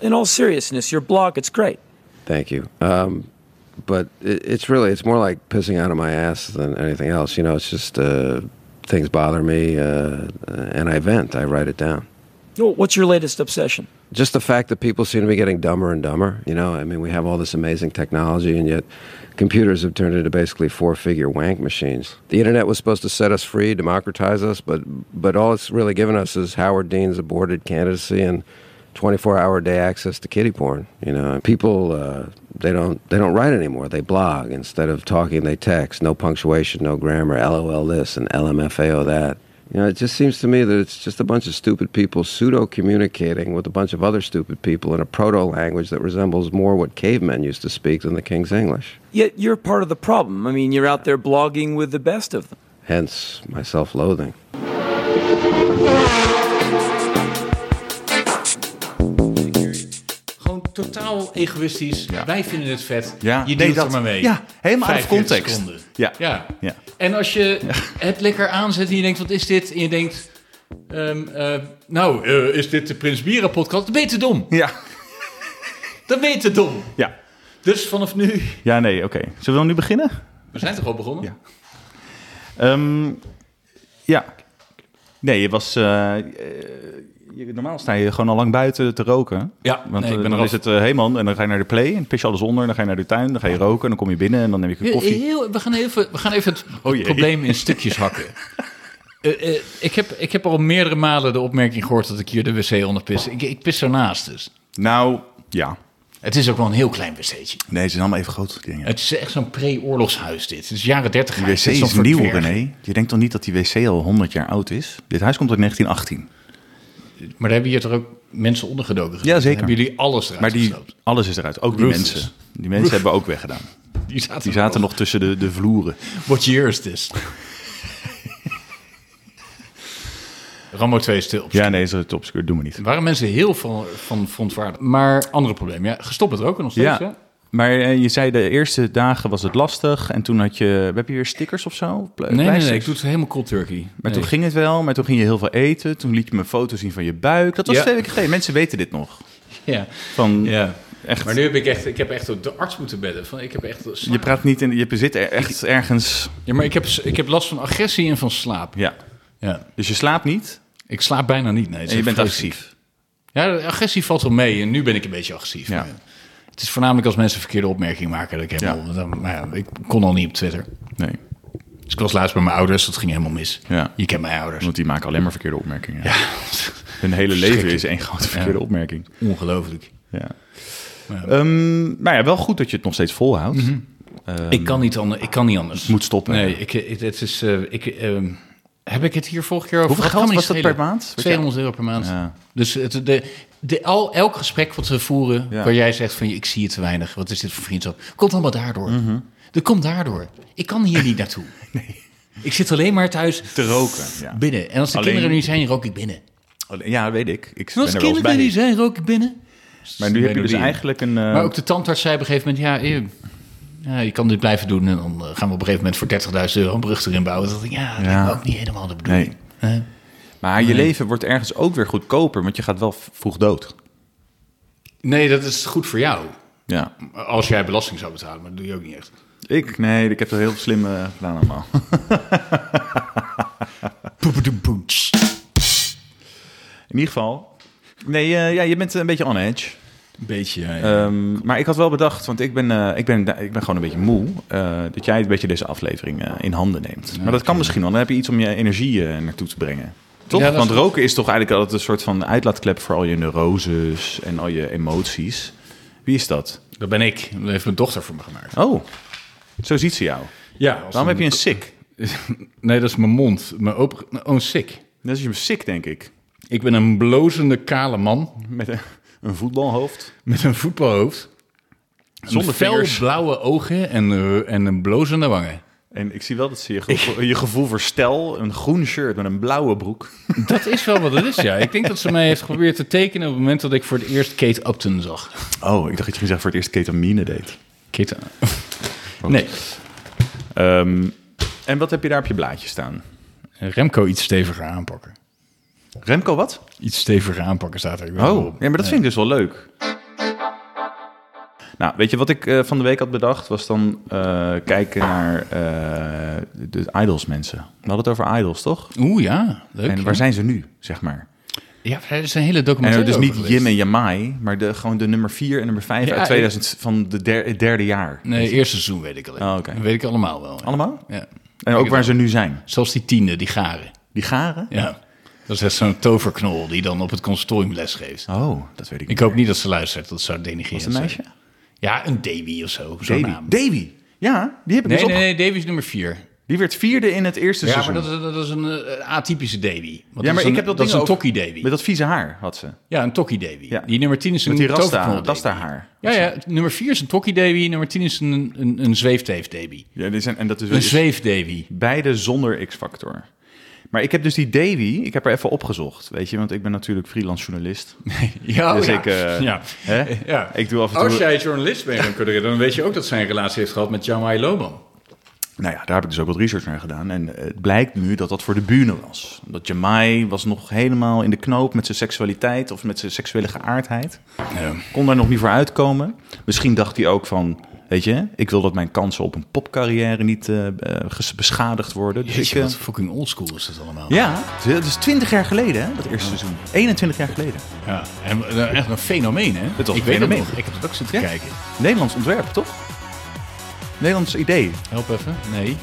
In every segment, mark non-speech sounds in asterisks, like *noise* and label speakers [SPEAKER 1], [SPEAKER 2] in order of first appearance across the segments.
[SPEAKER 1] in all seriousness, your blog, it's great.
[SPEAKER 2] Thank you. Um, but it, it's really, it's more like pissing out of my ass than anything else. You know, it's just uh, things bother me uh, and I vent, I write it down.
[SPEAKER 1] Well, What's your latest obsession?
[SPEAKER 2] Just the fact that people seem to be getting dumber and dumber. You know, I mean, we have all this amazing technology, and yet computers have turned into basically four-figure wank machines. The internet was supposed to set us free, democratize us, but but all it's really given us is Howard Dean's aborted candidacy and 24-hour day access to kitty porn. You know, And people uh, they don't they don't write anymore. They blog instead of talking. They text. No punctuation, no grammar. LOL this and LMFAO that. You know, it just seems to me that it's just a bunch of stupid people pseudo communicating with a bunch of other stupid people in a proto language that resembles more what cavemen used to speak than the King's English.
[SPEAKER 1] Yet you're part of the problem. I mean, you're out there blogging with the best of them.
[SPEAKER 2] Hence my self loathing.
[SPEAKER 3] Gewoon totaal egoïstisch. Wij vinden het vet.
[SPEAKER 4] Ja,
[SPEAKER 3] Je
[SPEAKER 4] nee,
[SPEAKER 3] deelt
[SPEAKER 4] dat-
[SPEAKER 3] er maar mee.
[SPEAKER 4] ja, helemaal uit
[SPEAKER 3] 45
[SPEAKER 4] context.
[SPEAKER 3] seconden.
[SPEAKER 4] Ja.
[SPEAKER 3] ja.
[SPEAKER 4] Ja.
[SPEAKER 3] En als je het lekker aanzet en je denkt, wat is dit? En je denkt, ehm, eh, nou, eh, is dit de Prins Bira podcast? Dan ben je te dom.
[SPEAKER 4] Ja.
[SPEAKER 3] Dan ben je te dom.
[SPEAKER 4] Ja.
[SPEAKER 3] Dus vanaf nu...
[SPEAKER 4] Ja, nee, oké. Zullen we dan nu beginnen?
[SPEAKER 3] We zijn toch al begonnen?
[SPEAKER 4] Ja. Ehm, ja. Nee, je was... eh, eh, je- normaal sta je gewoon al lang buiten te roken.
[SPEAKER 3] Ja,
[SPEAKER 4] Want
[SPEAKER 3] nee, ik
[SPEAKER 4] eh,
[SPEAKER 3] ben
[SPEAKER 4] dan
[SPEAKER 3] eraf.
[SPEAKER 4] is het eh, helemaal... En dan ga je naar de play en pis je alles onder. En dan ga je naar de tuin, dan ga je roken. En dan kom je binnen en dan neem ik een koffie.
[SPEAKER 3] Heel, we, gaan even, we gaan even het,
[SPEAKER 4] Oh
[SPEAKER 3] het
[SPEAKER 4] jee.
[SPEAKER 3] probleem in stukjes
[SPEAKER 4] *laughs*
[SPEAKER 3] hakken. Eh, eh, ik, heb, ik heb al meerdere malen de opmerking gehoord dat ik hier de wc onder pis. Ik, ik pis ernaast dus.
[SPEAKER 4] Nou, ja.
[SPEAKER 3] Het is ook wel een heel klein wc'tje.
[SPEAKER 4] Nee, ze zijn allemaal even grote dingen.
[SPEAKER 3] Het is echt zo'n pre-oorlogshuis dit. Het is jaren 30
[SPEAKER 4] Die wc is nieuw, René. Je denkt toch niet dat die wc al 100 jaar oud is? Dit huis komt uit 1918.
[SPEAKER 3] Maar daar hebben hier toch ook mensen ondergedoken? gezet?
[SPEAKER 4] Ja, zeker.
[SPEAKER 3] Dan Hebben jullie alles eruit
[SPEAKER 4] Maar die,
[SPEAKER 3] gesloopt?
[SPEAKER 4] alles is eruit. Ook die
[SPEAKER 3] Ruthless.
[SPEAKER 4] mensen. Die mensen hebben we ook weggedaan.
[SPEAKER 3] Die zaten,
[SPEAKER 4] Die zaten nog tussen de, de vloeren.
[SPEAKER 3] What year is
[SPEAKER 4] *laughs*
[SPEAKER 3] this? Rambo 2 is te
[SPEAKER 4] Ja, nee, dat is obscuur. Doen we niet.
[SPEAKER 3] Er waren mensen heel van, van verontwaardigd. Maar andere probleem, ja, gestopt het roken nog steeds, hè?
[SPEAKER 4] Ja, maar eh, je zei de eerste dagen was het lastig. En toen had je... Heb je weer stickers of zo? Pla-
[SPEAKER 3] Nee, nee,
[SPEAKER 4] pleisters?
[SPEAKER 3] nee, ik doe het helemaal cold turkey.
[SPEAKER 4] Maar
[SPEAKER 3] Nee.
[SPEAKER 4] toen ging het wel. Maar toen ging je heel veel eten. Toen liet je me foto's zien van je buik. Dat was
[SPEAKER 3] Ja.
[SPEAKER 4] twee weken geleden. Mensen weten dit nog.
[SPEAKER 3] Ja.
[SPEAKER 4] Van,
[SPEAKER 3] ja.
[SPEAKER 4] echt,
[SPEAKER 3] Maar nu heb ik echt, ik heb echt op de arts moeten bedden. Van, ik heb echt,
[SPEAKER 4] Je praat niet in... Je zit er echt ergens...
[SPEAKER 3] ja, maar ik heb, ik heb last van agressie en van slaap.
[SPEAKER 4] Ja.
[SPEAKER 3] Ja.
[SPEAKER 4] Dus je slaapt niet.
[SPEAKER 3] Ik slaap bijna niet, nee. het is
[SPEAKER 4] En je
[SPEAKER 3] echt
[SPEAKER 4] bent
[SPEAKER 3] vreselijk.
[SPEAKER 4] agressief.
[SPEAKER 3] Ja, agressie valt wel mee. En nu ben ik een beetje agressief.
[SPEAKER 4] Ja.
[SPEAKER 3] Maar, eh, Het is voornamelijk als mensen verkeerde opmerkingen maken. Dat ik, helemaal, dan- maar ja, ik kon al niet op Twitter.
[SPEAKER 4] Nee.
[SPEAKER 3] Dus ik was laatst bij mijn ouders. Dat ging helemaal mis.
[SPEAKER 4] Ja.
[SPEAKER 3] Je kent mijn ouders.
[SPEAKER 4] Want die maken alleen maar verkeerde opmerkingen. Hun hele leven is één grote verkeerde opmerking.
[SPEAKER 3] Ongelooflijk.
[SPEAKER 4] Ja. Ehm, maar ja, wel goed dat je het nog steeds volhoudt.
[SPEAKER 3] Mhm. ik, kan niet anders, ik kan niet anders.
[SPEAKER 4] Ehm, Moet stoppen.
[SPEAKER 3] Nee, ik, ik- het is, eh, ik, ehm, heb ik het hier vorige keer over
[SPEAKER 4] Hoeveel
[SPEAKER 3] gehad? Kan me
[SPEAKER 4] geld was
[SPEAKER 3] niet
[SPEAKER 4] dat per
[SPEAKER 3] schelen.
[SPEAKER 4] maand? Weet
[SPEAKER 3] 200 euro per maand.
[SPEAKER 4] Ja.
[SPEAKER 3] Dus het, de, de, al, elk gesprek wat we voeren,
[SPEAKER 4] Ja.
[SPEAKER 3] waar jij zegt van ik zie het te weinig, wat is dit voor vriendschap, komt allemaal daardoor.
[SPEAKER 4] Mhm.
[SPEAKER 3] Dat komt daardoor. Ik kan hier niet
[SPEAKER 4] *laughs*
[SPEAKER 3] naartoe. Ik zit alleen maar thuis
[SPEAKER 4] Te roken. Ja,
[SPEAKER 3] binnen. En als de
[SPEAKER 4] Alleen-
[SPEAKER 3] kinderen er niet zijn, rook ik binnen.
[SPEAKER 4] Alleen- Oh, ja weet ik. Ik
[SPEAKER 3] En als de
[SPEAKER 4] ben er wel eens
[SPEAKER 3] kinderen er
[SPEAKER 4] bij.
[SPEAKER 3] niet zijn, rook ik binnen.
[SPEAKER 4] Maar nu heb je dus
[SPEAKER 3] Melodie.
[SPEAKER 4] eigenlijk een... eh,
[SPEAKER 3] Maar ook de tandarts zei op een gegeven moment: ja, eh, ja, je kan dit blijven doen. En dan eh, gaan we op een gegeven moment voor 30.000 euro een brug erin bouwen. Dat dacht ik, ja, dat
[SPEAKER 4] Ja.
[SPEAKER 3] is ook niet helemaal de bedoeling.
[SPEAKER 4] nee. Maar je leven wordt ergens ook weer goedkoper, want je gaat wel v- vroeg dood.
[SPEAKER 3] Nee, dat is goed voor jou.
[SPEAKER 4] Ja.
[SPEAKER 3] Als jij belasting zou betalen, maar dat doe je ook niet echt.
[SPEAKER 4] Ik? Nee, ik heb dat heel slim eh, gedaan allemaal.
[SPEAKER 3] Poepedoepoets.
[SPEAKER 4] In ieder geval... Nee, eh, ja, je bent een beetje on edge.
[SPEAKER 3] Een beetje, eh, ja.
[SPEAKER 4] Ehm, maar ik had wel bedacht, want ik ben, eh, ik ben, ik ben gewoon een beetje moe, eh, dat jij een beetje deze aflevering eh, in handen neemt. maar dat kan misschien wel. Dan heb je iets om je energie eh, naartoe te brengen. Toch?
[SPEAKER 3] Ja, dat is
[SPEAKER 4] want
[SPEAKER 3] goed.
[SPEAKER 4] roken is toch eigenlijk altijd een soort van uitlaatklep voor al je neuroses en al je emoties. Wie is dat?
[SPEAKER 3] Dat ben ik. Dat heeft mijn dochter voor me gemaakt.
[SPEAKER 4] Oh, zo ziet ze jou.
[SPEAKER 3] Ja,
[SPEAKER 4] Waarom heb je een sik?
[SPEAKER 3] *laughs* Nee, dat is mijn mond. Mijn open... Oh, sick.
[SPEAKER 4] Dat is je sik, denk ik.
[SPEAKER 3] Ik ben een blozende kale man
[SPEAKER 4] Met een, een voetbalhoofd.
[SPEAKER 3] met een voetbalhoofd.
[SPEAKER 4] Zonder vingers.
[SPEAKER 3] blauwe ogen en, eh, en een blozende wangen.
[SPEAKER 4] En ik zie wel dat ze je gevoel, je gevoel voor stijl, een groen shirt met een blauwe broek.
[SPEAKER 3] Dat is wel wat het is, ja. Ik denk dat ze mij heeft geprobeerd te tekenen op het moment dat ik voor het eerst Kate Upton zag.
[SPEAKER 4] Oh, ik dacht dat je ging zeggen voor het eerst ketamine deed.
[SPEAKER 3] Kate... eh,
[SPEAKER 4] Oh.
[SPEAKER 3] Nee,
[SPEAKER 4] Ehm, en wat heb je daar op je blaadje staan?
[SPEAKER 3] Remco iets steviger aanpakken.
[SPEAKER 4] Remco wat?
[SPEAKER 3] Iets steviger aanpakken staat er. Ik weet
[SPEAKER 4] Oh,
[SPEAKER 3] wel. Eh,
[SPEAKER 4] ja, maar dat vind ik dus wel leuk. Nou, weet je wat ik eh, van de week had bedacht? Was dan eh, kijken naar eh, de idols mensen. We hadden het over idols, toch?
[SPEAKER 3] Oeh, ja. Leuk.
[SPEAKER 4] en
[SPEAKER 3] ja.
[SPEAKER 4] waar zijn ze nu, zeg maar?
[SPEAKER 3] Ja, er is een hele
[SPEAKER 4] En
[SPEAKER 3] documentaire
[SPEAKER 4] dus niet
[SPEAKER 3] over
[SPEAKER 4] Jim
[SPEAKER 3] geweest.
[SPEAKER 4] en Jamai, maar de, gewoon de nummer 4 en nummer 5
[SPEAKER 3] Ja,
[SPEAKER 4] uit 2000 van de der- het derde jaar.
[SPEAKER 3] Nee, eerste seizoen weet ik alleen.
[SPEAKER 4] Oh, oké.
[SPEAKER 3] Dat weet ik allemaal wel. ja.
[SPEAKER 4] Allemaal?
[SPEAKER 3] Ja.
[SPEAKER 4] En ook waar ze nu zijn.
[SPEAKER 3] Zoals die tiende, die garen.
[SPEAKER 4] Die garen?
[SPEAKER 3] Ja. Dat is echt zo'n toverknol die dan op het consortium lesgeeft.
[SPEAKER 4] Oh, dat weet ik
[SPEAKER 3] Ik
[SPEAKER 4] niet.
[SPEAKER 3] hoop niet dat ze luistert, dat zou denigrerend
[SPEAKER 4] een meisje?
[SPEAKER 3] zijn. Ja, een Davy of zo. Zo'n
[SPEAKER 4] Davy.
[SPEAKER 3] naam.
[SPEAKER 4] Davy. Ja, die heb ik
[SPEAKER 3] Nee,
[SPEAKER 4] dus
[SPEAKER 3] nee,
[SPEAKER 4] opge-
[SPEAKER 3] nee, Davy is nummer vier.
[SPEAKER 4] Die werd vierde in het eerste
[SPEAKER 3] Ja, maar
[SPEAKER 4] seizoen.
[SPEAKER 3] dat is, dat is een eh, atypische Davy. Want
[SPEAKER 4] ja,
[SPEAKER 3] dat
[SPEAKER 4] maar
[SPEAKER 3] is een-
[SPEAKER 4] ik heb dat,
[SPEAKER 3] dat is
[SPEAKER 4] ding
[SPEAKER 3] een
[SPEAKER 4] over-
[SPEAKER 3] tokkie Davy.
[SPEAKER 4] Met dat vieze haar had ze.
[SPEAKER 3] Ja, een tokkie Davy.
[SPEAKER 4] Ja.
[SPEAKER 3] Die nummer 10 is een
[SPEAKER 4] Met die rasta,
[SPEAKER 3] toverknol
[SPEAKER 4] rasta
[SPEAKER 3] Davy.
[SPEAKER 4] haar.
[SPEAKER 3] Ja, ja, nummer 4 is een tokkie Davy, nummer 10 is een, een, een zweefteef Davy.
[SPEAKER 4] Ja, die zijn, en dat is,
[SPEAKER 3] Een
[SPEAKER 4] is
[SPEAKER 3] zweef Davy.
[SPEAKER 4] beide zonder X-factor. Maar ik heb dus die Davy, ik heb er even opgezocht, weet je, want ik ben natuurlijk freelance
[SPEAKER 3] *laughs*
[SPEAKER 4] journalist.
[SPEAKER 3] *laughs* Ja,
[SPEAKER 4] Dus
[SPEAKER 3] ja.
[SPEAKER 4] ik, eh,
[SPEAKER 3] ja.
[SPEAKER 4] Hè?
[SPEAKER 3] Ja.
[SPEAKER 4] Ik doe af en toe.
[SPEAKER 3] Als jij journalist bent, dan, kun je- dan weet je ook dat zij een relatie heeft gehad met Jamai Loban.
[SPEAKER 4] Nou ja, daar heb ik dus ook wat research naar gedaan. En eh, het blijkt nu dat dat voor de bühne was. Dat Jamai was nog helemaal in de knoop met zijn seksualiteit of met zijn seksuele geaardheid.
[SPEAKER 3] Ja.
[SPEAKER 4] Kon daar nog niet voor uitkomen. Misschien dacht hij ook van, weet je, ik wil dat mijn kansen op een popcarrière niet eh, eh, ges- beschadigd worden. Dus
[SPEAKER 3] Jeetje,
[SPEAKER 4] ik, eh,
[SPEAKER 3] wat fucking oldschool is dat allemaal.
[SPEAKER 4] ja, dat is 20 jaar geleden, hè, dat eerste seizoen. 21 jaar geleden.
[SPEAKER 3] Ja, En, eh, echt een fenomeen, hè?
[SPEAKER 4] Het was
[SPEAKER 3] ik
[SPEAKER 4] een fenomeen.
[SPEAKER 3] Weet het nog. Ik heb het ook zitten
[SPEAKER 4] Ja.
[SPEAKER 3] kijken.
[SPEAKER 4] Nederlands ontwerp, toch? Nederlands idee.
[SPEAKER 3] Help even. Nee.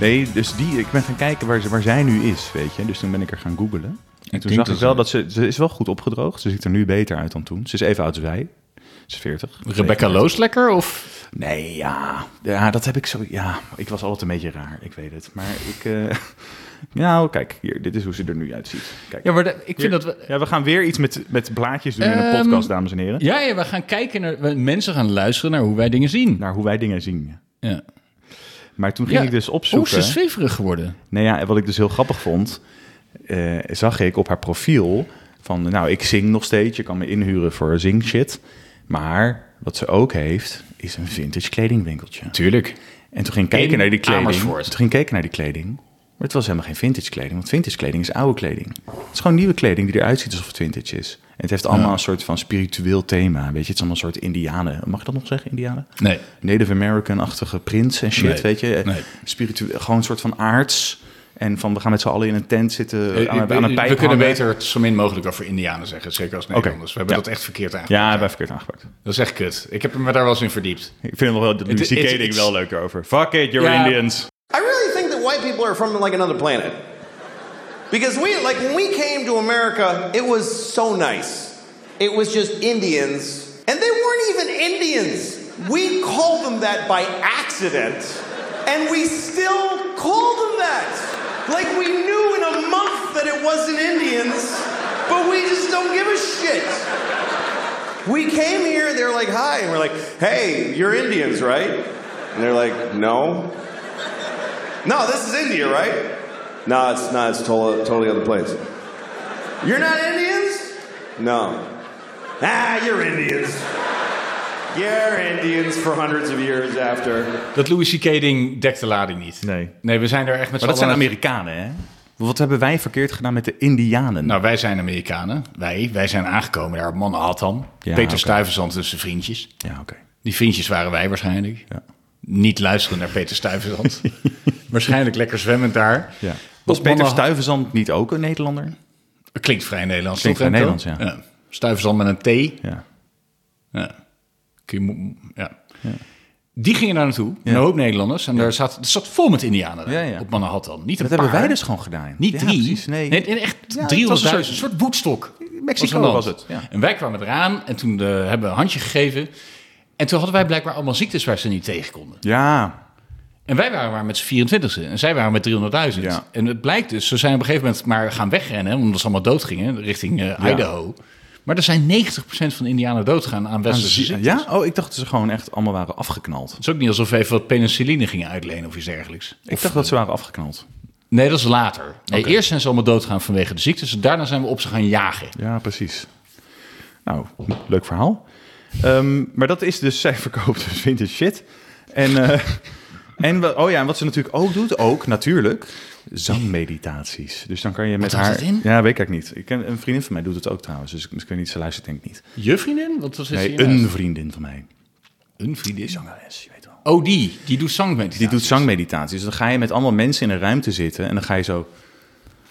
[SPEAKER 4] Nee, dus die, ik ben gaan kijken waar, ze, waar zij nu is, weet je. Dus toen ben ik er gaan googelen. En toen
[SPEAKER 3] denk
[SPEAKER 4] zag
[SPEAKER 3] dat
[SPEAKER 4] ik wel
[SPEAKER 3] ze-
[SPEAKER 4] dat ze... Ze is wel goed opgedroogd. Ze ziet er nu beter uit dan toen. Ze is even oud als wij. Ze is 40.
[SPEAKER 3] Rebecca Loos lekker of?
[SPEAKER 4] Nee, ja. Ja, dat heb ik zo... Ja, ik was altijd een beetje raar. Ik weet het. Maar ik... eh, *laughs* nou, kijk. Hier, dit is hoe ze er nu uitziet. Kijk.
[SPEAKER 3] Ja, maar da- ik vind dat we...
[SPEAKER 4] Ja, we gaan weer iets met, met blaadjes doen in een
[SPEAKER 3] Ehm,
[SPEAKER 4] podcast, dames en heren.
[SPEAKER 3] Ja, ja, we gaan kijken naar... we- Mensen gaan luisteren naar hoe wij dingen zien.
[SPEAKER 4] Naar hoe wij dingen zien.
[SPEAKER 3] Ja.
[SPEAKER 4] Maar toen ging
[SPEAKER 3] Ja.
[SPEAKER 4] Nou, ik dus
[SPEAKER 3] Hoe is
[SPEAKER 4] opzoeken...
[SPEAKER 3] ze zweverig geworden?
[SPEAKER 4] Nou ja, en wat ik dus heel grappig vond, eh, zag ik op haar profiel van, nou, ik zing nog steeds, je kan me inhuren voor zingshit. Maar wat ze ook heeft, is een vintage kledingwinkeltje.
[SPEAKER 3] Tuurlijk.
[SPEAKER 4] En toen ging ik kijken
[SPEAKER 3] In
[SPEAKER 4] naar die kleding.
[SPEAKER 3] Amersfoort.
[SPEAKER 4] Toen ging ik kijken naar die kleding. Maar het was helemaal geen vintage kleding, want vintage kleding is oude kleding. Het is gewoon nieuwe kleding die eruit ziet alsof het vintage is. En het heeft allemaal een soort van spiritueel thema. Weet je, het is allemaal een soort indianen. Mag ik dat nog zeggen, indianen?
[SPEAKER 3] Nee.
[SPEAKER 4] Native American-achtige prins en shit,
[SPEAKER 3] Nee.
[SPEAKER 4] weet je.
[SPEAKER 3] Nee.
[SPEAKER 4] Spiritueel, gewoon een soort van aards. En van, we gaan met z'n allen in een tent zitten,
[SPEAKER 3] Eh,
[SPEAKER 4] aan, een- aan een pijp
[SPEAKER 3] we kunnen
[SPEAKER 4] hangen.
[SPEAKER 3] beter het zo min mogelijk over Indianen zeggen, zeker als Nederlanders. We hebben
[SPEAKER 4] Ja.
[SPEAKER 3] dat echt verkeerd aangepakt.
[SPEAKER 4] Ja, we hebben verkeerd aangepakt.
[SPEAKER 3] Dat is echt kut. Ik heb me daar wel eens in verdiept.
[SPEAKER 4] Ik vind hem wel, de muziek
[SPEAKER 3] it's-
[SPEAKER 4] ding
[SPEAKER 3] it's-
[SPEAKER 4] wel leuker over. Fuck it, you're
[SPEAKER 3] Ja.
[SPEAKER 4] Indians.
[SPEAKER 5] I really think that white people are from like another planet. Because we, like, when we came to America, it was so nice. It was just Indians. And they weren't even Indians. We called them that by accident. And we still called them that. Like, we knew in a month that it wasn't Indians, but we just don't give a shit. We came here, they're like, hi. And we're like, hey, you're Indians, right? And they're like, no. No, this is India, right? No, it's not. It's tol- totally other place. You're not Indians? No. Ah, you're Indians. You're Indians for hundreds of years after.
[SPEAKER 3] Dat Louis C.K. ding dekt de lading niet.
[SPEAKER 4] Nee.
[SPEAKER 3] Nee, we zijn er echt met z'n
[SPEAKER 4] Maar dat zijn
[SPEAKER 3] allen-
[SPEAKER 4] Amerikanen, hè? Wat hebben wij verkeerd gedaan met de Indianen?
[SPEAKER 3] Nou, wij zijn Amerikanen. Wij, wij zijn aangekomen daar op Manhattan.
[SPEAKER 4] Ja,
[SPEAKER 3] Peter
[SPEAKER 4] oké.
[SPEAKER 3] Stuyvesant en zijn vriendjes.
[SPEAKER 4] ja, oké.
[SPEAKER 3] Die vriendjes waren wij waarschijnlijk.
[SPEAKER 4] Ja.
[SPEAKER 3] Niet luisteren naar Peter
[SPEAKER 4] *laughs*
[SPEAKER 3] Stuyvesant. waarschijnlijk lekker zwemmend daar.
[SPEAKER 4] Ja. Was
[SPEAKER 3] Op
[SPEAKER 4] Peter
[SPEAKER 3] Manhattan-
[SPEAKER 4] Stuyvesant niet ook een Nederlander?
[SPEAKER 3] Klinkt vrij Nederlands.
[SPEAKER 4] Klinkt
[SPEAKER 3] toch,
[SPEAKER 4] vrij
[SPEAKER 3] Remco?
[SPEAKER 4] Nederlands,
[SPEAKER 3] ja. Stuyvesant met een T.
[SPEAKER 4] Ja.
[SPEAKER 3] Ja. Kun je mo- ja. Die gingen daar naartoe, een hoop Nederlanders. En daar zat, het zat vol met Indianen daar,
[SPEAKER 4] Ja, ja.
[SPEAKER 3] op Manhattan. Niet een
[SPEAKER 4] Dat hebben
[SPEAKER 3] paar,
[SPEAKER 4] wij dus gewoon gedaan.
[SPEAKER 3] Niet
[SPEAKER 4] Ja,
[SPEAKER 3] drie.
[SPEAKER 4] precies, nee.
[SPEAKER 3] echt
[SPEAKER 4] het
[SPEAKER 3] 300.000.
[SPEAKER 4] was een
[SPEAKER 3] Een
[SPEAKER 4] soort-
[SPEAKER 3] soort boetstok.
[SPEAKER 4] Mexico
[SPEAKER 3] een land.
[SPEAKER 4] was het, ja.
[SPEAKER 3] En wij kwamen eraan en toen eh, hebben we een handje gegeven. En toen hadden wij blijkbaar allemaal ziektes waar ze niet tegen konden.
[SPEAKER 4] Ja,
[SPEAKER 3] En wij waren maar met z'n 24e en zij waren met 300.000.
[SPEAKER 4] Ja.
[SPEAKER 3] En het blijkt dus, ze zijn op een gegeven moment maar gaan wegrennen, omdat ze allemaal doodgingen richting eh,
[SPEAKER 4] Ja.
[SPEAKER 3] Idaho. Maar er zijn 90% van de Indianen doodgaan aan westerse ziektes.
[SPEAKER 4] ja? Oh, ik dacht dat ze gewoon echt allemaal waren afgeknald.
[SPEAKER 3] Het is ook niet alsof we even wat penicilline gingen uitlenen of iets dergelijks.
[SPEAKER 4] Ik dacht dat ze waren afgeknald.
[SPEAKER 3] Nee, dat is later. Nee, Eerst zijn ze allemaal doodgaan vanwege de ziektes. En daarna zijn we op ze gaan jagen.
[SPEAKER 4] Ja, precies. Nou, leuk verhaal. Ehm, maar dat is dus, *laughs* zij verkoopt dus vintage shit. En, eh, en wat, oh ja, en wat ze natuurlijk ook doet, ook natuurlijk, zangmeditaties. Dus dan kan je met
[SPEAKER 3] houdt
[SPEAKER 4] haar...
[SPEAKER 3] dat in?
[SPEAKER 4] Ja, weet ik eigenlijk niet. Ik ken, een vriendin van dus mij doet het ook trouwens, dus ik, ik weet niet, ze luistert denk ik niet.
[SPEAKER 3] Je vriendin? Wat was het
[SPEAKER 4] Nee, een vriendin van mij.
[SPEAKER 3] Een vriendin.
[SPEAKER 4] Zangeres, je weet wel.
[SPEAKER 3] Oh, die. Die doet zangmeditatie.
[SPEAKER 4] Die doet zangmeditaties. Dan ga je met allemaal mensen in een ruimte zitten en dan ga je zo...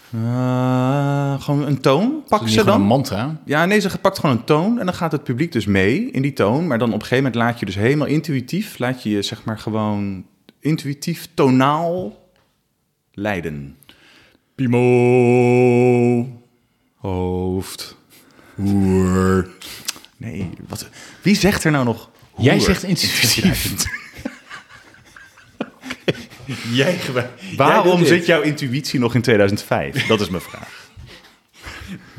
[SPEAKER 4] eh, gewoon een toon pakken ze
[SPEAKER 3] Een
[SPEAKER 4] dan.
[SPEAKER 3] mantra.
[SPEAKER 4] Ja, nee, ze pakt gewoon een toon en dan gaat het publiek dus mee in die toon. Maar dan op een gegeven moment laat je dus helemaal intuïtief, laat je je zeg maar gewoon intuïtief tonaal leiden. Pimo, hoofd, hoer. Nee, wat, wie zegt er nou nog hoer?
[SPEAKER 3] Jij zegt
[SPEAKER 4] *laughs*
[SPEAKER 3] intuïtief.
[SPEAKER 4] Jij gebru- Waarom
[SPEAKER 1] dit.
[SPEAKER 4] zit jouw intuïtie nog in 2005? Dat is mijn vraag.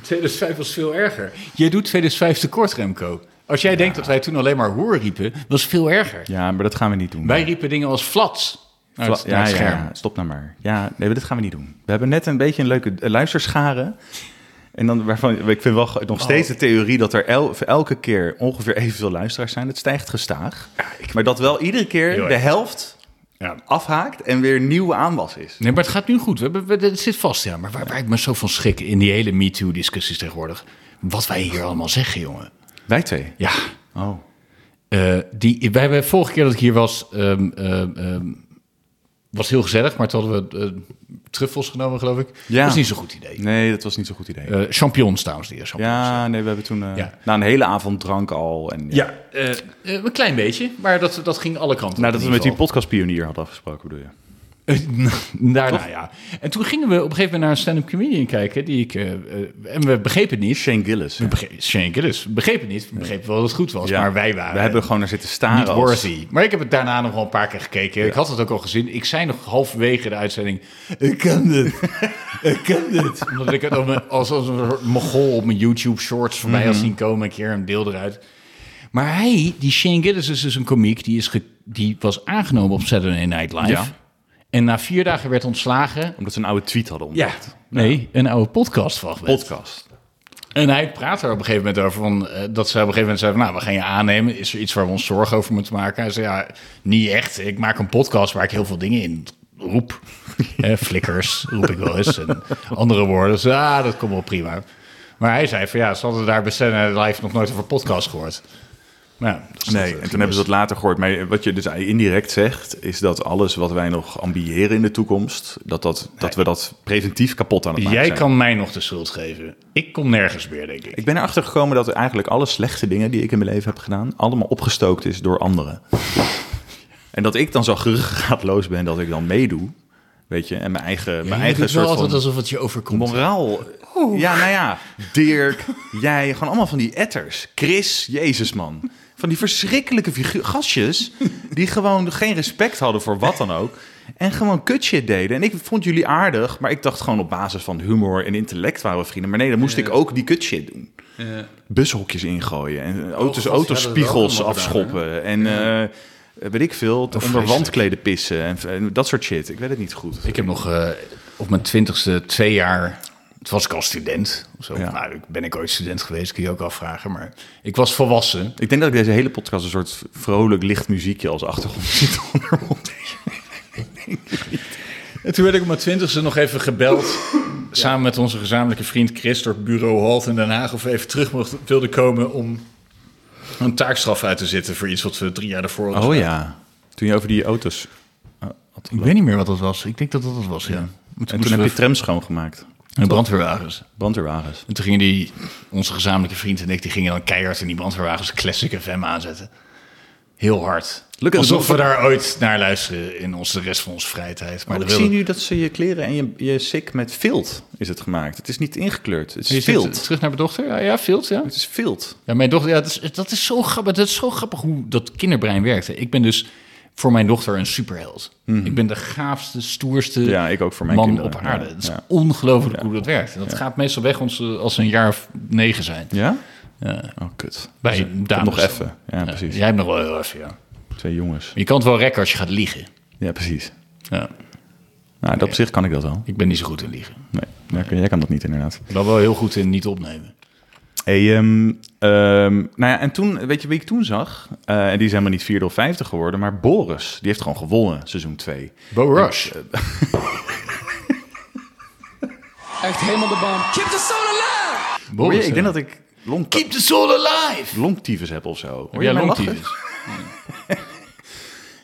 [SPEAKER 3] 2005 was veel erger. Jij doet 2005 tekort, Remco. Als jij denkt dat wij toen alleen maar hoer riepen, was veel erger.
[SPEAKER 4] Ja, maar dat gaan we niet doen.
[SPEAKER 3] Wij riepen dingen als flats. Naar het,
[SPEAKER 4] Vla-
[SPEAKER 3] naar het scherm.
[SPEAKER 4] stop nou maar. Ja, nee, maar dit gaan we niet doen. We hebben net een beetje een leuke eh, luisterscharen. En dan waarvan, ik vind wel ge-
[SPEAKER 3] Oh.
[SPEAKER 4] nog steeds de theorie dat er el- voor elke keer ongeveer evenveel luisteraars zijn. Het stijgt gestaag. Maar dat wel iedere keer
[SPEAKER 3] erg.
[SPEAKER 4] de helft
[SPEAKER 3] Ja.
[SPEAKER 4] afhaakt en weer nieuwe aanwas is.
[SPEAKER 3] Nee, maar het gaat nu goed. We hebben, we, het zit vast, ja. Maar waar, waar ik me zo van schrik in die hele MeToo-discussies tegenwoordig. Wat wij hier allemaal zeggen, jongen.
[SPEAKER 4] Wij twee.
[SPEAKER 3] Ja.
[SPEAKER 4] Oh.
[SPEAKER 3] eh, die, wij hebben vorige keer dat ik hier was, ehm, ehm, ehm, was heel gezellig. Maar toen hadden we eh, truffels genomen, geloof ik.
[SPEAKER 4] Ja.
[SPEAKER 3] Dat is niet zo'n goed idee.
[SPEAKER 4] Nee, dat was niet zo'n goed idee.
[SPEAKER 3] Eh champignons trouwens, die champignons.
[SPEAKER 4] ja, nee, we hebben toen eh,
[SPEAKER 3] Ja.
[SPEAKER 4] na een hele avond drank al. En,
[SPEAKER 3] Ja, eh, eh, een klein beetje, maar dat, dat ging alle kanten.
[SPEAKER 4] Nadat we met die
[SPEAKER 3] pot.
[SPEAKER 4] podcastpionier hadden afgesproken, bedoel je?
[SPEAKER 3] *laughs* Daarna, Nou, ja. En toen gingen we op een gegeven moment naar een stand-up comedian kijken, die ik. eh, eh, en we begrepen het niet.
[SPEAKER 4] Shane Gillis.
[SPEAKER 3] We begrepen, Schenken dus. We begrepen het niet. We begrepen wel dat het goed was,
[SPEAKER 4] Ja.
[SPEAKER 3] maar wij waren.
[SPEAKER 4] We hebben gewoon naar zitten staren.
[SPEAKER 3] niet
[SPEAKER 4] als-
[SPEAKER 3] worthy. Maar ik heb het daarna nog wel een paar keer gekeken. Ik had het ook al gezien. Ik zei nog halverwege de uitzending: Ik ken dit. ik ken dit. *laughs* Omdat ik het op mijn- als, als een soort mogol op mijn YouTube shorts voorbij had zien komen. Een keer een deel eruit. Maar hij, die Shane Gillis, is dus een komiek. Die, is ge- die was aangenomen op Saturday Night Live.
[SPEAKER 4] Ja.
[SPEAKER 3] En na vier dagen werd ontslagen.
[SPEAKER 4] Omdat ze een oude tweet hadden. om.
[SPEAKER 3] Nee, een oude podcastfragment.
[SPEAKER 4] Podcast.
[SPEAKER 3] En hij praat er op een gegeven moment over. Van, eh, dat ze op een gegeven moment zei van... Nou, we gaan je aannemen. Is er iets waar we ons zorgen over moeten maken? Hij zei, ja, niet echt. Ik maak een podcast waar ik heel veel dingen in roep. *laughs* Eh, flikkers roep ik wel eens. En andere woorden. Dus, ah, dat komt wel prima. Maar hij zei van... Ja, ze hadden daar bij Saturday Live nog nooit over podcast gehoord. Nou, ja, dat is
[SPEAKER 4] Nee,
[SPEAKER 3] dat,
[SPEAKER 4] en toen hebben ze dat later gehoord. Maar wat je dus indirect zegt, is dat alles wat wij nog ambiëren in de toekomst, dat, dat, dat we dat preventief kapot aan het maken
[SPEAKER 3] Jij
[SPEAKER 4] zijn.
[SPEAKER 3] kan mij nog de schuld geven. Ik kom nergens meer, denk ik.
[SPEAKER 4] Ik ben erachter gekomen dat eigenlijk alle slechte dingen die ik in mijn leven heb gedaan, allemaal opgestookt is door anderen. en dat ik dan zo *laughs* geruggaatloos ben dat ik dan meedoe, weet je, en mijn eigen, mijn
[SPEAKER 3] Je doet
[SPEAKER 4] eigen
[SPEAKER 3] wel
[SPEAKER 4] soort
[SPEAKER 3] altijd
[SPEAKER 4] van
[SPEAKER 3] alsof het je overkomt.
[SPEAKER 4] moraal. Ja, nou ja, Dirk, jij, gewoon allemaal van die etters. Chris, jezus man. Van die verschrikkelijke figu- gastjes die gewoon geen respect hadden voor wat dan ook. En gewoon kutshit deden. En ik vond jullie aardig, maar ik dacht gewoon op basis van humor en intellect waren we vrienden. Maar nee, dan moest ik ook die kutshit doen. Bushokjes ingooien en auto's,
[SPEAKER 3] Oh, God, ja, dat hebben we ook
[SPEAKER 4] autospiegels
[SPEAKER 3] allemaal
[SPEAKER 4] afschoppen. en eh, weet ik veel, onder
[SPEAKER 3] vreselijk.
[SPEAKER 4] wandkleden pissen en, en dat soort shit. Ik weet het niet goed.
[SPEAKER 3] Ik heb nog eh, op mijn twintigste twee jaar. Toen was ik al student. Of zo.
[SPEAKER 4] Ja.
[SPEAKER 3] Nou, ik- ben ik ooit student geweest, kun je ook afvragen. Maar ik was volwassen.
[SPEAKER 4] Ik denk dat ik deze hele podcast een soort vrolijk licht muziekje als achtergrond *laughs* zit onderhond.
[SPEAKER 3] En toen werd ik op mijn twintigste nog even gebeld. Samen met onze gezamenlijke vriend Chris door bureau Halt in Den Haag. Of we even terug mocht, wilden komen om een taakstraf uit te zitten voor iets wat we drie jaar daarvoor hadden gedaan.
[SPEAKER 4] Oh ja, toen je over die auto's...
[SPEAKER 3] Ik Oh, weet niet meer wat dat was. Ik denk dat dat het was, ja.
[SPEAKER 4] En toen heb je trams schoongemaakt.
[SPEAKER 3] een brandweerwagens.
[SPEAKER 4] Brandweerwagens.
[SPEAKER 3] En toen gingen die, onze gezamenlijke vriend en ik, die gingen dan keihard in die brandweerwagens Classic FM aanzetten. Heel hard.
[SPEAKER 4] Look at
[SPEAKER 3] Alsof
[SPEAKER 4] the-
[SPEAKER 3] we daar ooit naar luisteren in onze, de rest van onze vrije tijd. Maar
[SPEAKER 4] Maar Oh, ik
[SPEAKER 3] dat
[SPEAKER 4] zie
[SPEAKER 3] wilde-
[SPEAKER 4] nu dat ze je kleren en je, je sik met vilt is het gemaakt. Het is niet ingekleurd, het
[SPEAKER 3] Je
[SPEAKER 4] is
[SPEAKER 3] zit
[SPEAKER 4] vilt.
[SPEAKER 3] Terug naar mijn dochter? Ja, ja Vilt, ja.
[SPEAKER 4] Het is vilt.
[SPEAKER 3] Ja, mijn dochter, ja, dat, is, dat, is zo grappig, dat is zo grappig hoe dat kinderbrein werkt. hè. Ik ben dus voor mijn dochter een superheld. Ik ben de gaafste, stoerste
[SPEAKER 4] Mhm. Ja, ik ook voor mijn
[SPEAKER 3] man
[SPEAKER 4] kinderen,
[SPEAKER 3] op aarde.
[SPEAKER 4] ja,
[SPEAKER 3] Het is
[SPEAKER 4] ja.
[SPEAKER 3] ongelooflijk hoe dat werkt. En dat gaat meestal weg als ze, als ze een jaar of negen zijn.
[SPEAKER 4] Ja?
[SPEAKER 3] Ja.
[SPEAKER 4] Oh, kut.
[SPEAKER 3] Bij dames.
[SPEAKER 4] nog
[SPEAKER 3] dan.
[SPEAKER 4] even. Ja, precies.
[SPEAKER 3] Jij hebt nog wel heel even, ja.
[SPEAKER 4] Twee jongens.
[SPEAKER 3] Je kan het wel rekken als je gaat liegen.
[SPEAKER 4] Ja, precies.
[SPEAKER 3] Ja,
[SPEAKER 4] Nou, dat op zich kan ik dat al.
[SPEAKER 3] ik ben niet zo goed in liegen.
[SPEAKER 4] Nee, jij kan- jij kan dat niet inderdaad.
[SPEAKER 3] Ik ben wel heel goed in niet opnemen.
[SPEAKER 4] Hey, ehm, ehm, nou ja, en toen, weet je wie ik toen zag? Eh, en die is helemaal niet vierde of vijfde geworden, maar Boris, die heeft gewoon gewonnen, seizoen 2.
[SPEAKER 3] Bo Rush.
[SPEAKER 4] *laughs*
[SPEAKER 6] Echt helemaal de baan. Keep the soul alive!
[SPEAKER 4] Hoor je?
[SPEAKER 3] Boris,
[SPEAKER 4] Ik denk dat ik long,
[SPEAKER 3] Keep the soul alive!
[SPEAKER 4] longtyfus heb of zo. Hoor
[SPEAKER 3] jij
[SPEAKER 4] mijn *laughs*
[SPEAKER 3] longtyfus?
[SPEAKER 4] lachen?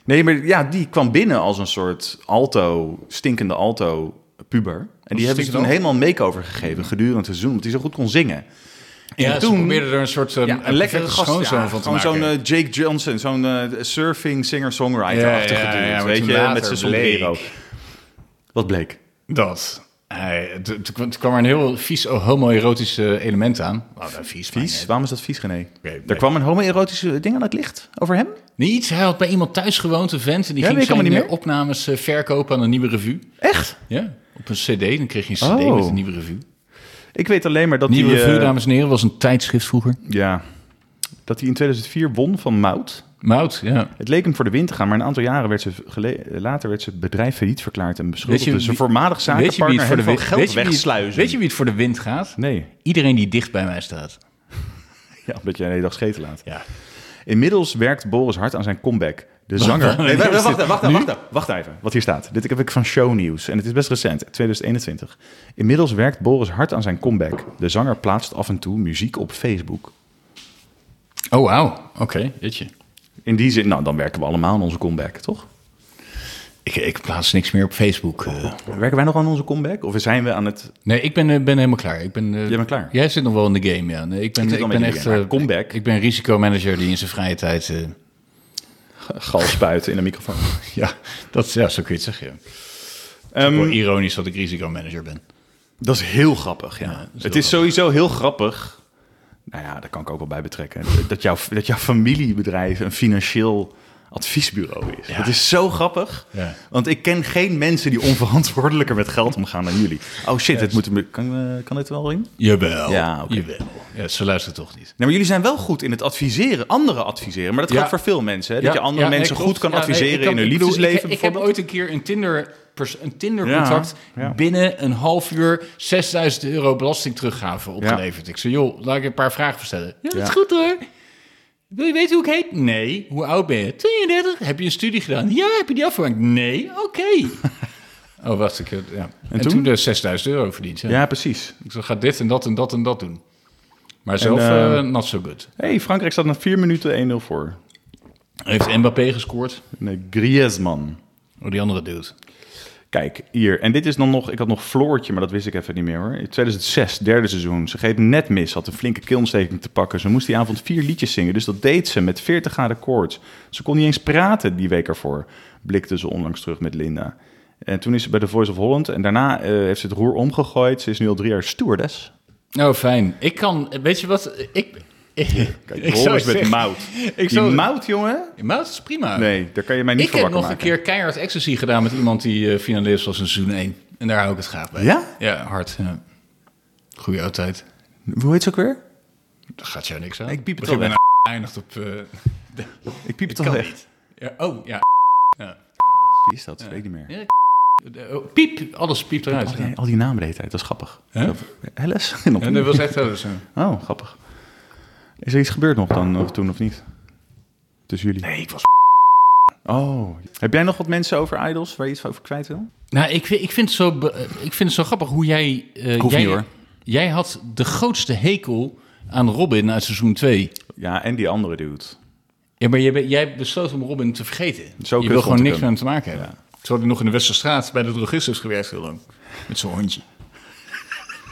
[SPEAKER 4] Nee, maar ja, die kwam binnen als een soort alto, stinkende alto puber. En die hebben ze toen
[SPEAKER 3] stinkende
[SPEAKER 4] helemaal een make-over gegeven gedurende het seizoen, omdat hij zo goed kon zingen.
[SPEAKER 3] Ja,
[SPEAKER 4] toen-
[SPEAKER 3] toen probeerde er een soort eh,
[SPEAKER 4] Ja, een lekkere
[SPEAKER 3] perfecte
[SPEAKER 4] gast.
[SPEAKER 3] schoonzoon
[SPEAKER 4] ja,
[SPEAKER 3] van te
[SPEAKER 4] gewoon
[SPEAKER 3] maken.
[SPEAKER 4] zo'n eh, Jake Johnson, zo'n eh, surfing singer-songwriter-achtige
[SPEAKER 3] Ja, ja,
[SPEAKER 4] dude,
[SPEAKER 3] ja, maar
[SPEAKER 4] weet
[SPEAKER 3] toen
[SPEAKER 4] je,
[SPEAKER 3] later
[SPEAKER 4] met zijn sombrero.
[SPEAKER 3] bleek-
[SPEAKER 4] Wat bleek?
[SPEAKER 3] Dat. Hij, t- t- toen kwam er een heel vies oh, homoerotische element aan. Oh, nou, vies, maar
[SPEAKER 4] Vies?
[SPEAKER 3] net.
[SPEAKER 4] Waarom is dat vies, René?
[SPEAKER 3] nee.
[SPEAKER 4] Er kwam een homoerotische ding aan het licht over hem?
[SPEAKER 3] Niet, hij had bij iemand thuis gewoond, een vent. En die
[SPEAKER 4] Ja,
[SPEAKER 3] ging
[SPEAKER 4] weet ik
[SPEAKER 3] zijn
[SPEAKER 4] allemaal niet
[SPEAKER 3] eh,
[SPEAKER 4] meer.
[SPEAKER 3] opnames eh, verkopen aan een nieuwe revue.
[SPEAKER 4] Echt?
[SPEAKER 3] Ja, op een cd. Dan kreeg je een cd
[SPEAKER 4] Oh.
[SPEAKER 3] met een nieuwe revue.
[SPEAKER 4] Ik weet alleen maar dat
[SPEAKER 3] Nieuwe
[SPEAKER 4] hij... eh,
[SPEAKER 3] revue, dames en heren, was een tijdschrift vroeger.
[SPEAKER 4] ja, dat hij in 2004 won van Mout.
[SPEAKER 3] Mout, ja.
[SPEAKER 4] Het leek hem voor de wind te gaan, maar een aantal jaren werd ze gele- later werd ze bedrijf failliet verklaard en beschuldigd.
[SPEAKER 3] Weet je
[SPEAKER 4] Dus een
[SPEAKER 3] wie-
[SPEAKER 4] voormalig zakenpartner hem van
[SPEAKER 3] wind-
[SPEAKER 4] geld
[SPEAKER 3] weet je wie het-
[SPEAKER 4] wegsluizen.
[SPEAKER 3] Weet je wie het voor de wind gaat?
[SPEAKER 4] Nee,
[SPEAKER 3] Iedereen die dicht bij mij staat.
[SPEAKER 4] ja, omdat jij een hele dag scheten laat.
[SPEAKER 3] Ja.
[SPEAKER 4] Inmiddels werkt Boris hard aan zijn comeback. De zanger. Nee, wacht, wacht, wacht, wacht, wacht, wacht even. Wat hier staat. Dit heb ik van shownieuws. En het is best recent, 2021. Inmiddels werkt Boris hard aan zijn comeback. De zanger plaatst af en toe muziek op Facebook.
[SPEAKER 3] Oh, wauw. Oké, weet je.
[SPEAKER 4] In die zin, nou dan werken we allemaal aan onze comeback, toch?
[SPEAKER 3] Ik, ik plaats niks meer op Facebook. eh.
[SPEAKER 4] Werken wij nog aan onze comeback? Of zijn we aan het.
[SPEAKER 3] Nee, ik ben, eh, ben helemaal klaar. Ik ben, eh,
[SPEAKER 4] Jij bent klaar?
[SPEAKER 3] Jij zit nog wel in de game, ja. Nee, ik ben,
[SPEAKER 4] Ik
[SPEAKER 3] ik
[SPEAKER 4] zit al een
[SPEAKER 3] ben echt...
[SPEAKER 4] beetje in de game,
[SPEAKER 3] eh,
[SPEAKER 4] maar comeback.
[SPEAKER 3] Ik ben risicomanager die in zijn vrije tijd... eh, *laughs*
[SPEAKER 4] Gal spuiten in een *laughs* microfoon.
[SPEAKER 3] ja, dat, ja, zo kun je het zeggen, ja.
[SPEAKER 4] Ehm,
[SPEAKER 3] Wel ironisch dat ik risicomanager ben.
[SPEAKER 4] dat is heel grappig, ja.
[SPEAKER 3] Ja, dat is heel
[SPEAKER 4] het is sowieso heel grappig. Nou ja, daar kan ik ook wel bij betrekken. Dat jouw, dat jouw familiebedrijf een financieel adviesbureau is. Dat is zo grappig.
[SPEAKER 3] Ja.
[SPEAKER 4] Want ik ken geen mensen die onverantwoordelijker met geld omgaan dan jullie. Oh shit, het moet, een- kan, eh, kan dit er wel in?
[SPEAKER 3] Jawel.
[SPEAKER 4] Ja, oké.
[SPEAKER 3] Jawel. Ja, ze luisteren toch niet.
[SPEAKER 4] Nee, maar jullie zijn wel goed in het adviseren, anderen adviseren. Maar dat
[SPEAKER 3] Ja.
[SPEAKER 4] gaat voor veel mensen. Hè? Dat
[SPEAKER 3] Ja,
[SPEAKER 4] je andere
[SPEAKER 3] ja, nee,
[SPEAKER 4] mensen
[SPEAKER 3] klopt.
[SPEAKER 4] goed kan
[SPEAKER 3] Ja, nee,
[SPEAKER 4] adviseren
[SPEAKER 3] ik kan-
[SPEAKER 4] in hun
[SPEAKER 3] ik bedoel,
[SPEAKER 4] liefdesleven.
[SPEAKER 3] Ik, ik heb ooit
[SPEAKER 4] bijvoorbeeld.
[SPEAKER 3] een keer een Tinder... pers- Een Tinder-contract
[SPEAKER 4] Ja, ja.
[SPEAKER 3] binnen een half uur 6000 euro belasting teruggave opgeleverd. Ik zei, joh, laat ik je een paar vragen stellen. Ja, dat is goed hoor. Wil je weten hoe ik heet? Nee. Hoe oud ben je? 32. Heb je een studie gedaan? Ja. Heb je die afgewerkt? Nee. Oké. *laughs* oh, wacht. Ik, ja. En, toen?
[SPEAKER 4] toen?
[SPEAKER 3] dus 6000 euro verdiend. Ja.
[SPEAKER 4] Ja, precies.
[SPEAKER 3] Ik zei, ga dit en dat en dat en dat doen. Maar zelf
[SPEAKER 4] eh,
[SPEAKER 3] eh, not so good.
[SPEAKER 4] hey, Frankrijk staat na vier minuten 1-0 voor.
[SPEAKER 3] Heeft Mbappé gescoord?
[SPEAKER 4] Nee, Griezmann.
[SPEAKER 3] Oh, die andere dude.
[SPEAKER 4] Kijk, hier. En dit is dan nog... Ik had nog Floortje, maar dat wist ik even niet meer hoor. In 2006, derde seizoen. Ze greep net mis. Had een flinke keelsteking te pakken. Ze moest die avond vier liedjes zingen. Dus dat deed ze met 40 graden koorts. Ze kon niet eens praten die week ervoor. Blikte ze onlangs terug met Linda. En toen is ze bij The Voice of Holland. En daarna eh, heeft ze het roer omgegooid. Ze is nu al drie jaar stewardess.
[SPEAKER 3] Nou, fijn. Ik kan, weet je wat,
[SPEAKER 4] *laughs*
[SPEAKER 3] ik... Ik,
[SPEAKER 4] Kijk,
[SPEAKER 3] zou
[SPEAKER 4] Boris met
[SPEAKER 3] zeggen-
[SPEAKER 4] mout.
[SPEAKER 3] Ik
[SPEAKER 4] Die
[SPEAKER 3] zou-
[SPEAKER 4] mout, jongen.
[SPEAKER 3] Mout is prima.
[SPEAKER 4] Nee, daar kan je mij niet
[SPEAKER 3] ik
[SPEAKER 4] voor
[SPEAKER 3] heb
[SPEAKER 4] wakker
[SPEAKER 3] nog
[SPEAKER 4] maken.
[SPEAKER 3] een keer keihard ecstasy gedaan met iemand die eh, finalist was in seizoen 1. En daar hou ik het graag bij.
[SPEAKER 4] Ja?
[SPEAKER 3] Ja, hard. Ja. Goeie oudheid.
[SPEAKER 4] Hoe heet ze ook weer?
[SPEAKER 3] Daar gaat jou niks aan.
[SPEAKER 4] Ik piep het
[SPEAKER 3] Want
[SPEAKER 4] al
[SPEAKER 3] je
[SPEAKER 4] weg.
[SPEAKER 3] bent eindigt op... eh,
[SPEAKER 4] Ik piep het
[SPEAKER 3] Ik
[SPEAKER 4] al
[SPEAKER 3] kan
[SPEAKER 4] weg.
[SPEAKER 3] niet. ja, oh, ja.
[SPEAKER 4] Wie is dat? Weet ik niet meer.
[SPEAKER 3] Oh, piep, alles piept eruit.
[SPEAKER 4] Al die, al die namen de hele tijd, dat is grappig.
[SPEAKER 3] Hè?
[SPEAKER 4] Dat- Alice? *laughs* En
[SPEAKER 3] En dat was echt wel zo.
[SPEAKER 4] Oh, grappig. Is er iets gebeurd nog dan, of toen of niet? Tussen jullie?
[SPEAKER 3] Nee, ik was...
[SPEAKER 4] Oh. Heb jij nog wat mensen over idols waar je iets over kwijt wil?
[SPEAKER 3] Nou, ik, vind- ik, vind het zo, be- eh, ik vind het zo grappig hoe jij... eh,
[SPEAKER 4] Hoeft
[SPEAKER 3] jij,
[SPEAKER 4] niet, hoor.
[SPEAKER 3] Jij had de grootste hekel aan Robin uit seizoen 2.
[SPEAKER 4] Ja, en die andere dude. *laughs*
[SPEAKER 3] Ja, maar jij, be- jij besloot om Robin te vergeten.
[SPEAKER 4] Zo
[SPEAKER 3] je
[SPEAKER 4] kut
[SPEAKER 3] wil
[SPEAKER 4] vond
[SPEAKER 3] gewoon
[SPEAKER 4] ik
[SPEAKER 3] niks
[SPEAKER 4] hem.
[SPEAKER 3] met hem te maken hebben. Zo had hij nog in de Westerstraat bij de drogist is gewerkt heel lang. Met zo'n hondje.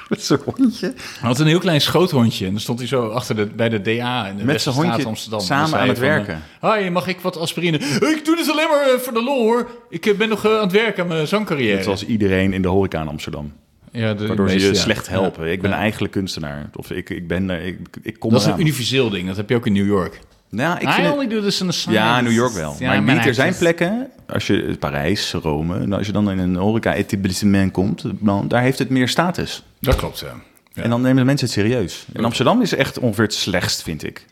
[SPEAKER 4] Met zijn hondje.
[SPEAKER 3] Hij had een heel klein schoothondje. En dan stond hij zo achter de, bij de DA in de
[SPEAKER 4] Met zijn
[SPEAKER 3] Westerstraat
[SPEAKER 4] hondje
[SPEAKER 3] Amsterdam.
[SPEAKER 4] samen
[SPEAKER 3] Dan zei
[SPEAKER 4] aan het
[SPEAKER 3] hij van,
[SPEAKER 4] werken.
[SPEAKER 3] eh, Hoi, mag ik wat aspirine? Ik doe dit alleen maar eh, voor de lol hoor. Ik eh, ben nog eh, aan het werken aan mijn zangcarrière.
[SPEAKER 4] Het was iedereen in de horeca in Amsterdam.
[SPEAKER 3] ja, de,
[SPEAKER 4] Waardoor ze
[SPEAKER 3] meeste,
[SPEAKER 4] je
[SPEAKER 3] ja.
[SPEAKER 4] slecht helpen.
[SPEAKER 3] Ja.
[SPEAKER 4] Ik ben
[SPEAKER 3] Ja.
[SPEAKER 4] eigenlijk kunstenaar. Of ik, ik ben er, ik, ik kom
[SPEAKER 3] Dat is
[SPEAKER 4] eraan.
[SPEAKER 3] een universeel ding. Dat heb je ook in New York.
[SPEAKER 4] Nou, ik
[SPEAKER 3] I
[SPEAKER 4] vind het-
[SPEAKER 3] only do this in the science.
[SPEAKER 4] Ja, New York wel.
[SPEAKER 3] Ja,
[SPEAKER 4] maar niet, er zijn
[SPEAKER 3] het is-
[SPEAKER 4] plekken, als je Parijs, Rome, nou, als je dan in een horeca-etablissement komt, dan, daar heeft het meer status.
[SPEAKER 3] Dat klopt, ja. Ja.
[SPEAKER 4] En dan nemen de mensen het serieus. En Amsterdam is echt ongeveer het slechtst, vind ik,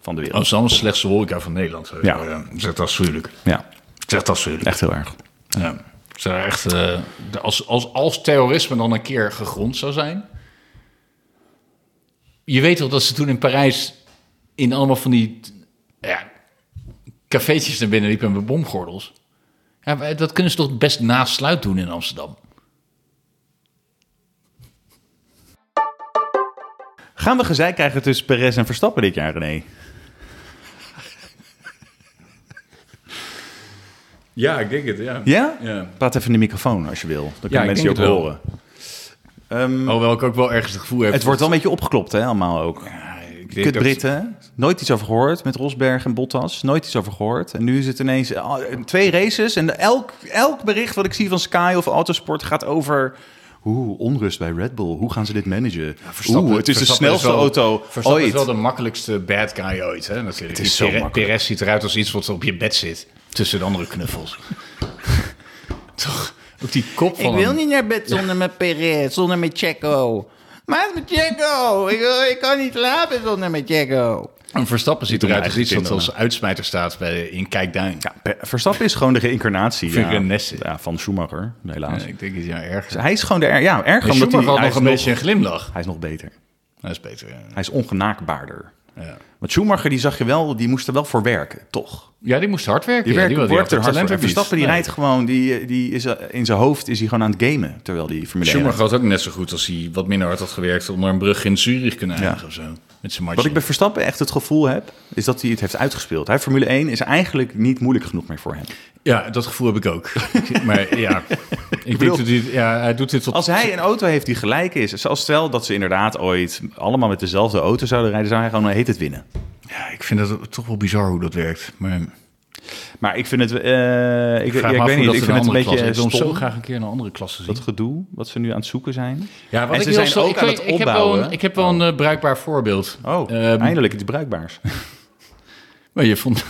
[SPEAKER 4] van de wereld.
[SPEAKER 3] Amsterdam is de slechtste horeca van Nederland.
[SPEAKER 4] Ja.
[SPEAKER 3] Zeg dat is moeilijk.
[SPEAKER 4] Ja,
[SPEAKER 3] Zeg dat is moeilijk.
[SPEAKER 4] echt heel erg.
[SPEAKER 3] Ja. Zou echt, eh, de- als, als, als terrorisme dan een keer gegrond zou zijn. Je weet toch dat ze toen in Parijs in allemaal van die ja, cafeetjes naar binnen liepen met bomgordels. Ja, maar dat kunnen ze toch best na sluit doen in Amsterdam.
[SPEAKER 4] Gaan we gezeik krijgen tussen Perez en Verstappen dit jaar, René?
[SPEAKER 3] Ja, ik denk het, ja.
[SPEAKER 4] Ja?
[SPEAKER 3] Ja.
[SPEAKER 4] Praat even in de microfoon als je wil. Dan kunnen
[SPEAKER 3] ik
[SPEAKER 4] mensen je
[SPEAKER 3] denk
[SPEAKER 4] ook
[SPEAKER 3] het wel.
[SPEAKER 4] horen. Ehm,
[SPEAKER 3] Hoewel ik ook wel ergens het gevoel heb...
[SPEAKER 4] het wordt wel een beetje opgeklopt, hè, allemaal ook.
[SPEAKER 3] Ik denk
[SPEAKER 4] Kut
[SPEAKER 3] dat-
[SPEAKER 4] Britten, hè? nooit iets over gehoord. Met Rosberg en Bottas, nooit iets over gehoord. En nu is het ineens ah, twee races. En elk, elk bericht wat ik zie van Sky of Autosport gaat over... Oeh, onrust bij Red Bull. Hoe gaan ze dit managen?
[SPEAKER 3] Verstappen-
[SPEAKER 4] Oeh, het is de
[SPEAKER 3] Verstappen
[SPEAKER 4] snelste
[SPEAKER 3] wel-
[SPEAKER 4] auto
[SPEAKER 3] Verstappen is
[SPEAKER 4] ooit.
[SPEAKER 3] wel de makkelijkste bad guy ooit, hè? Natuurlijk.
[SPEAKER 4] is
[SPEAKER 3] Die
[SPEAKER 4] zo
[SPEAKER 3] Pere-
[SPEAKER 4] makkelijk.
[SPEAKER 3] Perez ziet eruit als iets wat op je bed zit. Tussen de andere knuffels. *laughs* Toch? Ook die kop van hem.
[SPEAKER 7] naar bed zonder mijn Perez, zonder mijn Checo. Maar het is mijn Checo. Ik, ik kan niet slapen zonder mijn Checo.
[SPEAKER 3] Een Verstappen ziet eruit als
[SPEAKER 4] eigen
[SPEAKER 3] iets wat
[SPEAKER 4] kinderen.
[SPEAKER 3] als uitsmijter staat bij, in Kijkduin.
[SPEAKER 4] Ja, Pe- Verstappen is gewoon de reïncarnatie ja.
[SPEAKER 3] Verenesse.
[SPEAKER 4] Ja, van Schumacher, helaas.
[SPEAKER 3] Ja, Eh, ik denk het ja erg.
[SPEAKER 4] Hij is gewoon de... Er, ja, erger
[SPEAKER 3] Hij
[SPEAKER 4] omdat hij...
[SPEAKER 3] Schumacher had
[SPEAKER 4] hij
[SPEAKER 3] nog
[SPEAKER 4] is
[SPEAKER 3] een beetje een glimlach.
[SPEAKER 4] Hij is nog beter.
[SPEAKER 3] Dat is beter. ja.
[SPEAKER 4] Hij is ongenaakbaarder.
[SPEAKER 3] Ja.
[SPEAKER 4] Want Schumacher, die zag je wel, die moest er wel voor werken, toch?
[SPEAKER 3] Ja, die moest hard werken.
[SPEAKER 4] Die
[SPEAKER 3] ja,
[SPEAKER 4] werkt,
[SPEAKER 3] wilde
[SPEAKER 4] werkt er
[SPEAKER 3] had
[SPEAKER 4] hard voor. En
[SPEAKER 3] verlies.
[SPEAKER 4] Verstappen, die
[SPEAKER 3] Nee.
[SPEAKER 4] rijdt gewoon, die, eh, die is, eh, in zijn hoofd is hij gewoon aan het gamen, terwijl die Formule 1
[SPEAKER 3] Schumacher
[SPEAKER 4] rijdt.
[SPEAKER 3] had ook net zo goed als hij wat minder hard had gewerkt... onder een brug in Zurich kunnen eindigen of zo. Met zijn match.
[SPEAKER 4] Wat ik bij Verstappen echt het gevoel heb, is dat hij het heeft uitgespeeld. Hij, Formule 1 is eigenlijk niet moeilijk genoeg meer voor hem.
[SPEAKER 3] Ja, dat gevoel heb ik
[SPEAKER 4] *laughs*
[SPEAKER 3] ook. maar ja, ik
[SPEAKER 4] bedoel-
[SPEAKER 3] denk dat hij, ja, hij doet dit tot...
[SPEAKER 4] Als hij een auto heeft die gelijk is, zoals stel dat ze inderdaad ooit allemaal met dezelfde auto zouden rijden, zou hij gewoon eh, heet het winnen.
[SPEAKER 3] Ja, ik vind dat toch wel bizar hoe dat werkt. Maar
[SPEAKER 4] Maar ik vind het, eh, ik,
[SPEAKER 3] ik
[SPEAKER 4] ja,
[SPEAKER 3] vraag
[SPEAKER 4] ik
[SPEAKER 3] me af
[SPEAKER 4] weet
[SPEAKER 3] hoe
[SPEAKER 4] niet,
[SPEAKER 3] dat
[SPEAKER 4] ik
[SPEAKER 3] in
[SPEAKER 4] vind het
[SPEAKER 3] een
[SPEAKER 4] een
[SPEAKER 3] andere klasse
[SPEAKER 4] beetje
[SPEAKER 3] is. Ik wil hem zo
[SPEAKER 4] stom,
[SPEAKER 3] graag een keer een andere klasse zien.
[SPEAKER 4] dat gedoe wat ze nu aan het zoeken zijn.
[SPEAKER 3] Ja, wat ik
[SPEAKER 4] en ze
[SPEAKER 3] wil
[SPEAKER 4] zijn
[SPEAKER 3] zo-
[SPEAKER 4] ook
[SPEAKER 3] ik
[SPEAKER 4] aan
[SPEAKER 3] weet-
[SPEAKER 4] het
[SPEAKER 3] ik heb wel
[SPEAKER 4] opbouwen.
[SPEAKER 3] een- Ik heb wel een eh, bruikbaar voorbeeld.
[SPEAKER 4] Oh,
[SPEAKER 3] Ehm,
[SPEAKER 4] eindelijk iets bruikbaars. *laughs*
[SPEAKER 3] Maar je vond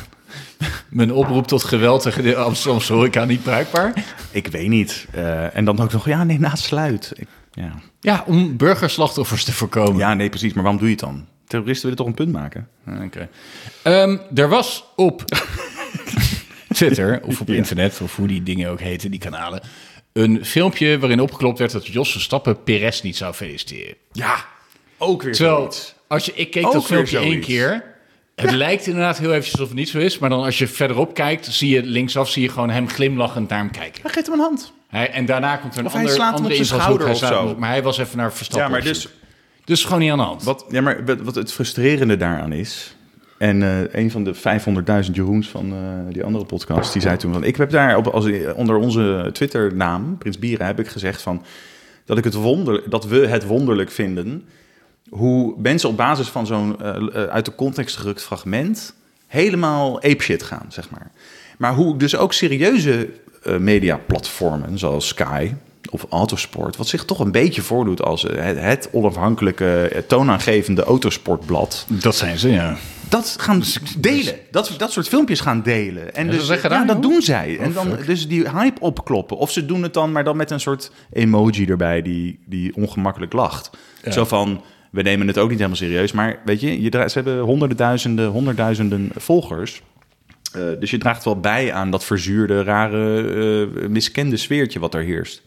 [SPEAKER 3] *laughs* mijn oproep tot geweld tegen de Amsterdamse horeca niet bruikbaar?
[SPEAKER 4] Ik weet niet. Eh, en dan ook nog, ja, nee, na sluit. Ik- ja.
[SPEAKER 3] Ja, om burgerslachtoffers te voorkomen.
[SPEAKER 4] ja, nee, precies. Maar waarom doe je het dan? Terroristen willen toch een punt maken?
[SPEAKER 3] Oké. Ehm, er was op *laughs* Twitter, of op internet, of hoe die dingen ook heten, die kanalen... een filmpje waarin opgeklopt werd dat Jos Verstappen Perez niet zou feliciteren.
[SPEAKER 4] Ja, ook weer
[SPEAKER 3] Terwijl, als je, ik keek
[SPEAKER 4] Ook
[SPEAKER 3] dat
[SPEAKER 4] weer
[SPEAKER 3] filmpje één
[SPEAKER 4] zoiets.
[SPEAKER 3] keer. Het lijkt inderdaad heel eventjes of het niet zo is. Maar dan als je verderop kijkt, zie je linksaf zie je gewoon hem glimlachend naar hem kijken.
[SPEAKER 4] Hij geeft hem een hand.
[SPEAKER 3] Hij, en daarna komt er een
[SPEAKER 4] Of hij
[SPEAKER 3] ander,
[SPEAKER 4] slaat hem
[SPEAKER 3] andere
[SPEAKER 4] op zijn
[SPEAKER 3] invalshoek.
[SPEAKER 4] schouder
[SPEAKER 3] Hij
[SPEAKER 4] of
[SPEAKER 3] slaat
[SPEAKER 4] zo.
[SPEAKER 3] hem- Maar hij was even naar Verstappen.
[SPEAKER 4] Ja, maar
[SPEAKER 3] op
[SPEAKER 4] dus,
[SPEAKER 3] zoek. Dus gewoon niet aan de hand.
[SPEAKER 4] wat, ja, maar wat- wat het frustrerende daaraan is... En eh, een van de 500.000 Jeroens van eh, die andere podcast, die zei toen van... Ik heb daar op, als, onder onze Twitternaam, Prins Bieren, heb ik gezegd van... Dat, ik het wonder, dat we het wonderlijk vinden hoe mensen op basis van zo'n eh, eh, uit de context gerukt fragment helemaal apeshit gaan, zeg maar. Maar hoe dus ook serieuze eh, mediaplatformen zoals Sky of Autosport, wat zich toch een beetje voordoet als eh, het, het onafhankelijke, eh, toonaangevende autosportblad,
[SPEAKER 3] Dat zijn ze, ja.
[SPEAKER 4] dat gaan
[SPEAKER 3] Dus-
[SPEAKER 4] delen. Dat, dat soort filmpjes gaan delen. En
[SPEAKER 3] Ja,
[SPEAKER 4] dus,
[SPEAKER 3] dat zeggen
[SPEAKER 4] ja,
[SPEAKER 3] daar,
[SPEAKER 4] dat
[SPEAKER 3] joh. Oh,
[SPEAKER 4] doen zij. en dan
[SPEAKER 3] fuck.
[SPEAKER 4] dus die hype opkloppen. Of ze doen het dan, maar dan met een soort emoji erbij die, die ongemakkelijk lacht. Zo van, we nemen het ook niet helemaal serieus. Maar weet je, je dra- ze hebben honderden duizenden, honderdduizenden volgers. Eh, dus je draagt wel bij aan dat verzuurde, rare, eh, miskende sfeertje wat er heerst.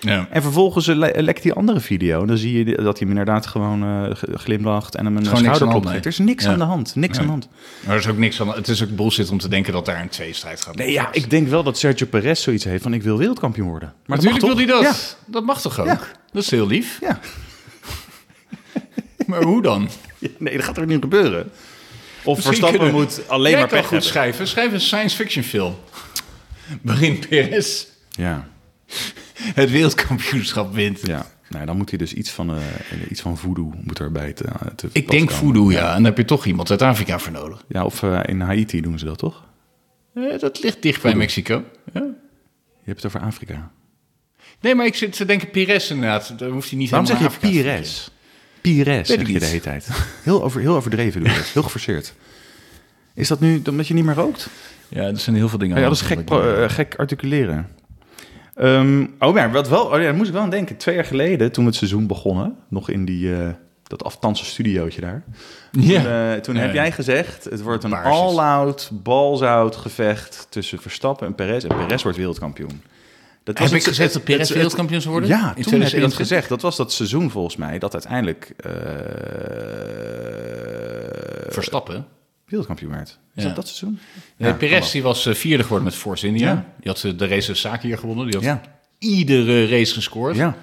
[SPEAKER 3] ja.
[SPEAKER 4] En vervolgens eh, le- lekt die andere video. Dan zie je dat hij hem inderdaad gewoon eh, ge- glimlacht en hem een
[SPEAKER 3] Gewoon niks aan de hand,
[SPEAKER 4] schouder klopt.
[SPEAKER 3] nee.
[SPEAKER 4] Er is niks
[SPEAKER 3] Ja.
[SPEAKER 4] aan de hand. Niks
[SPEAKER 3] Ja.
[SPEAKER 4] aan de hand.
[SPEAKER 3] Maar er is ook niks aan. Het is ook bullshit om te denken dat daar een tweestrijd gaat.
[SPEAKER 4] Nee, ja, ik denk wel dat Sergio Perez zoiets heeft van ik wil wereldkampioen worden.
[SPEAKER 3] Maar
[SPEAKER 4] dat
[SPEAKER 3] natuurlijk wil hij
[SPEAKER 4] mag
[SPEAKER 3] dat.
[SPEAKER 4] toch?
[SPEAKER 3] Dat mag toch ook?
[SPEAKER 4] Ja.
[SPEAKER 3] Dat is heel lief.
[SPEAKER 4] Ja. *laughs*
[SPEAKER 3] Maar hoe dan?
[SPEAKER 4] ja. Nee, dat gaat er niet gebeuren. Of
[SPEAKER 3] Misschien
[SPEAKER 4] Verstappen
[SPEAKER 3] kunnen-
[SPEAKER 4] moet alleen
[SPEAKER 3] Jij
[SPEAKER 4] maar
[SPEAKER 3] kan
[SPEAKER 4] pech
[SPEAKER 3] goed
[SPEAKER 4] hebben.
[SPEAKER 3] schrijven. Schrijf een science fiction film. Waarin Perez
[SPEAKER 4] Ja,
[SPEAKER 3] het wereldkampioenschap wint.
[SPEAKER 4] ja. Nou, dan moet hij dus iets van, eh iets van voodoo moet erbij te, eh, te
[SPEAKER 3] Ik
[SPEAKER 4] pas
[SPEAKER 3] denk
[SPEAKER 4] komen.
[SPEAKER 3] voodoo, ja. En daar heb je toch iemand uit Afrika voor nodig.
[SPEAKER 4] Ja, of eh, in Haiti doen ze dat toch?
[SPEAKER 3] Eh, dat ligt dicht bij Mexico. Ja.
[SPEAKER 4] Je hebt het over Afrika.
[SPEAKER 3] Nee, maar ik zit te denken Perez inderdaad. Daar hoeft hij niet
[SPEAKER 4] Waarom zeg
[SPEAKER 3] helemaal
[SPEAKER 4] je
[SPEAKER 3] naar Afrika te
[SPEAKER 4] Pires? Pires
[SPEAKER 3] ik
[SPEAKER 4] zeg je
[SPEAKER 3] niet.
[SPEAKER 4] de hele tijd. Heel, over, heel overdreven doe je dat. Heel geforceerd. Is dat nu omdat je niet meer rookt?
[SPEAKER 3] vliegen. Ja, er zijn heel veel dingen.
[SPEAKER 4] Ja,
[SPEAKER 3] aan
[SPEAKER 4] dat is
[SPEAKER 3] de
[SPEAKER 4] gek,
[SPEAKER 3] hand.
[SPEAKER 4] pro- eh, gek articuleren. Ehm, oh, maar wat wel, oh ja, daar moest ik wel aan denken. Twee jaar geleden, toen we het seizoen begonnen, nog in die, eh, dat aftansen studiootje daar.
[SPEAKER 3] Ja.
[SPEAKER 4] Toen, eh, toen
[SPEAKER 3] Ja,
[SPEAKER 4] heb
[SPEAKER 3] ja.
[SPEAKER 4] jij gezegd, het wordt een
[SPEAKER 3] Baarsjes.
[SPEAKER 4] all-out, balls-out gevecht tussen Verstappen en Perez. En Perez wordt wereldkampioen. Dat
[SPEAKER 3] Heb
[SPEAKER 4] het-
[SPEAKER 3] ik gezegd dat Perez
[SPEAKER 4] het- het-
[SPEAKER 3] wereldkampioen zou worden?
[SPEAKER 4] Ja,
[SPEAKER 3] In
[SPEAKER 4] toen heb je dat
[SPEAKER 3] 2021?
[SPEAKER 4] gezegd. Dat was dat seizoen volgens mij, dat uiteindelijk eh,
[SPEAKER 3] Verstappen.
[SPEAKER 4] wereldkampioen werd. Is
[SPEAKER 3] Ja.
[SPEAKER 4] dat dat seizoen?
[SPEAKER 3] Nee,
[SPEAKER 4] kan wel.
[SPEAKER 3] Perez die was eh, vierde geworden met Force India.
[SPEAKER 4] Ja.
[SPEAKER 3] Die had eh, de race Saki hier gewonnen. Die had
[SPEAKER 4] Ja.
[SPEAKER 3] iedere race gescoord.
[SPEAKER 4] Oh, Ja.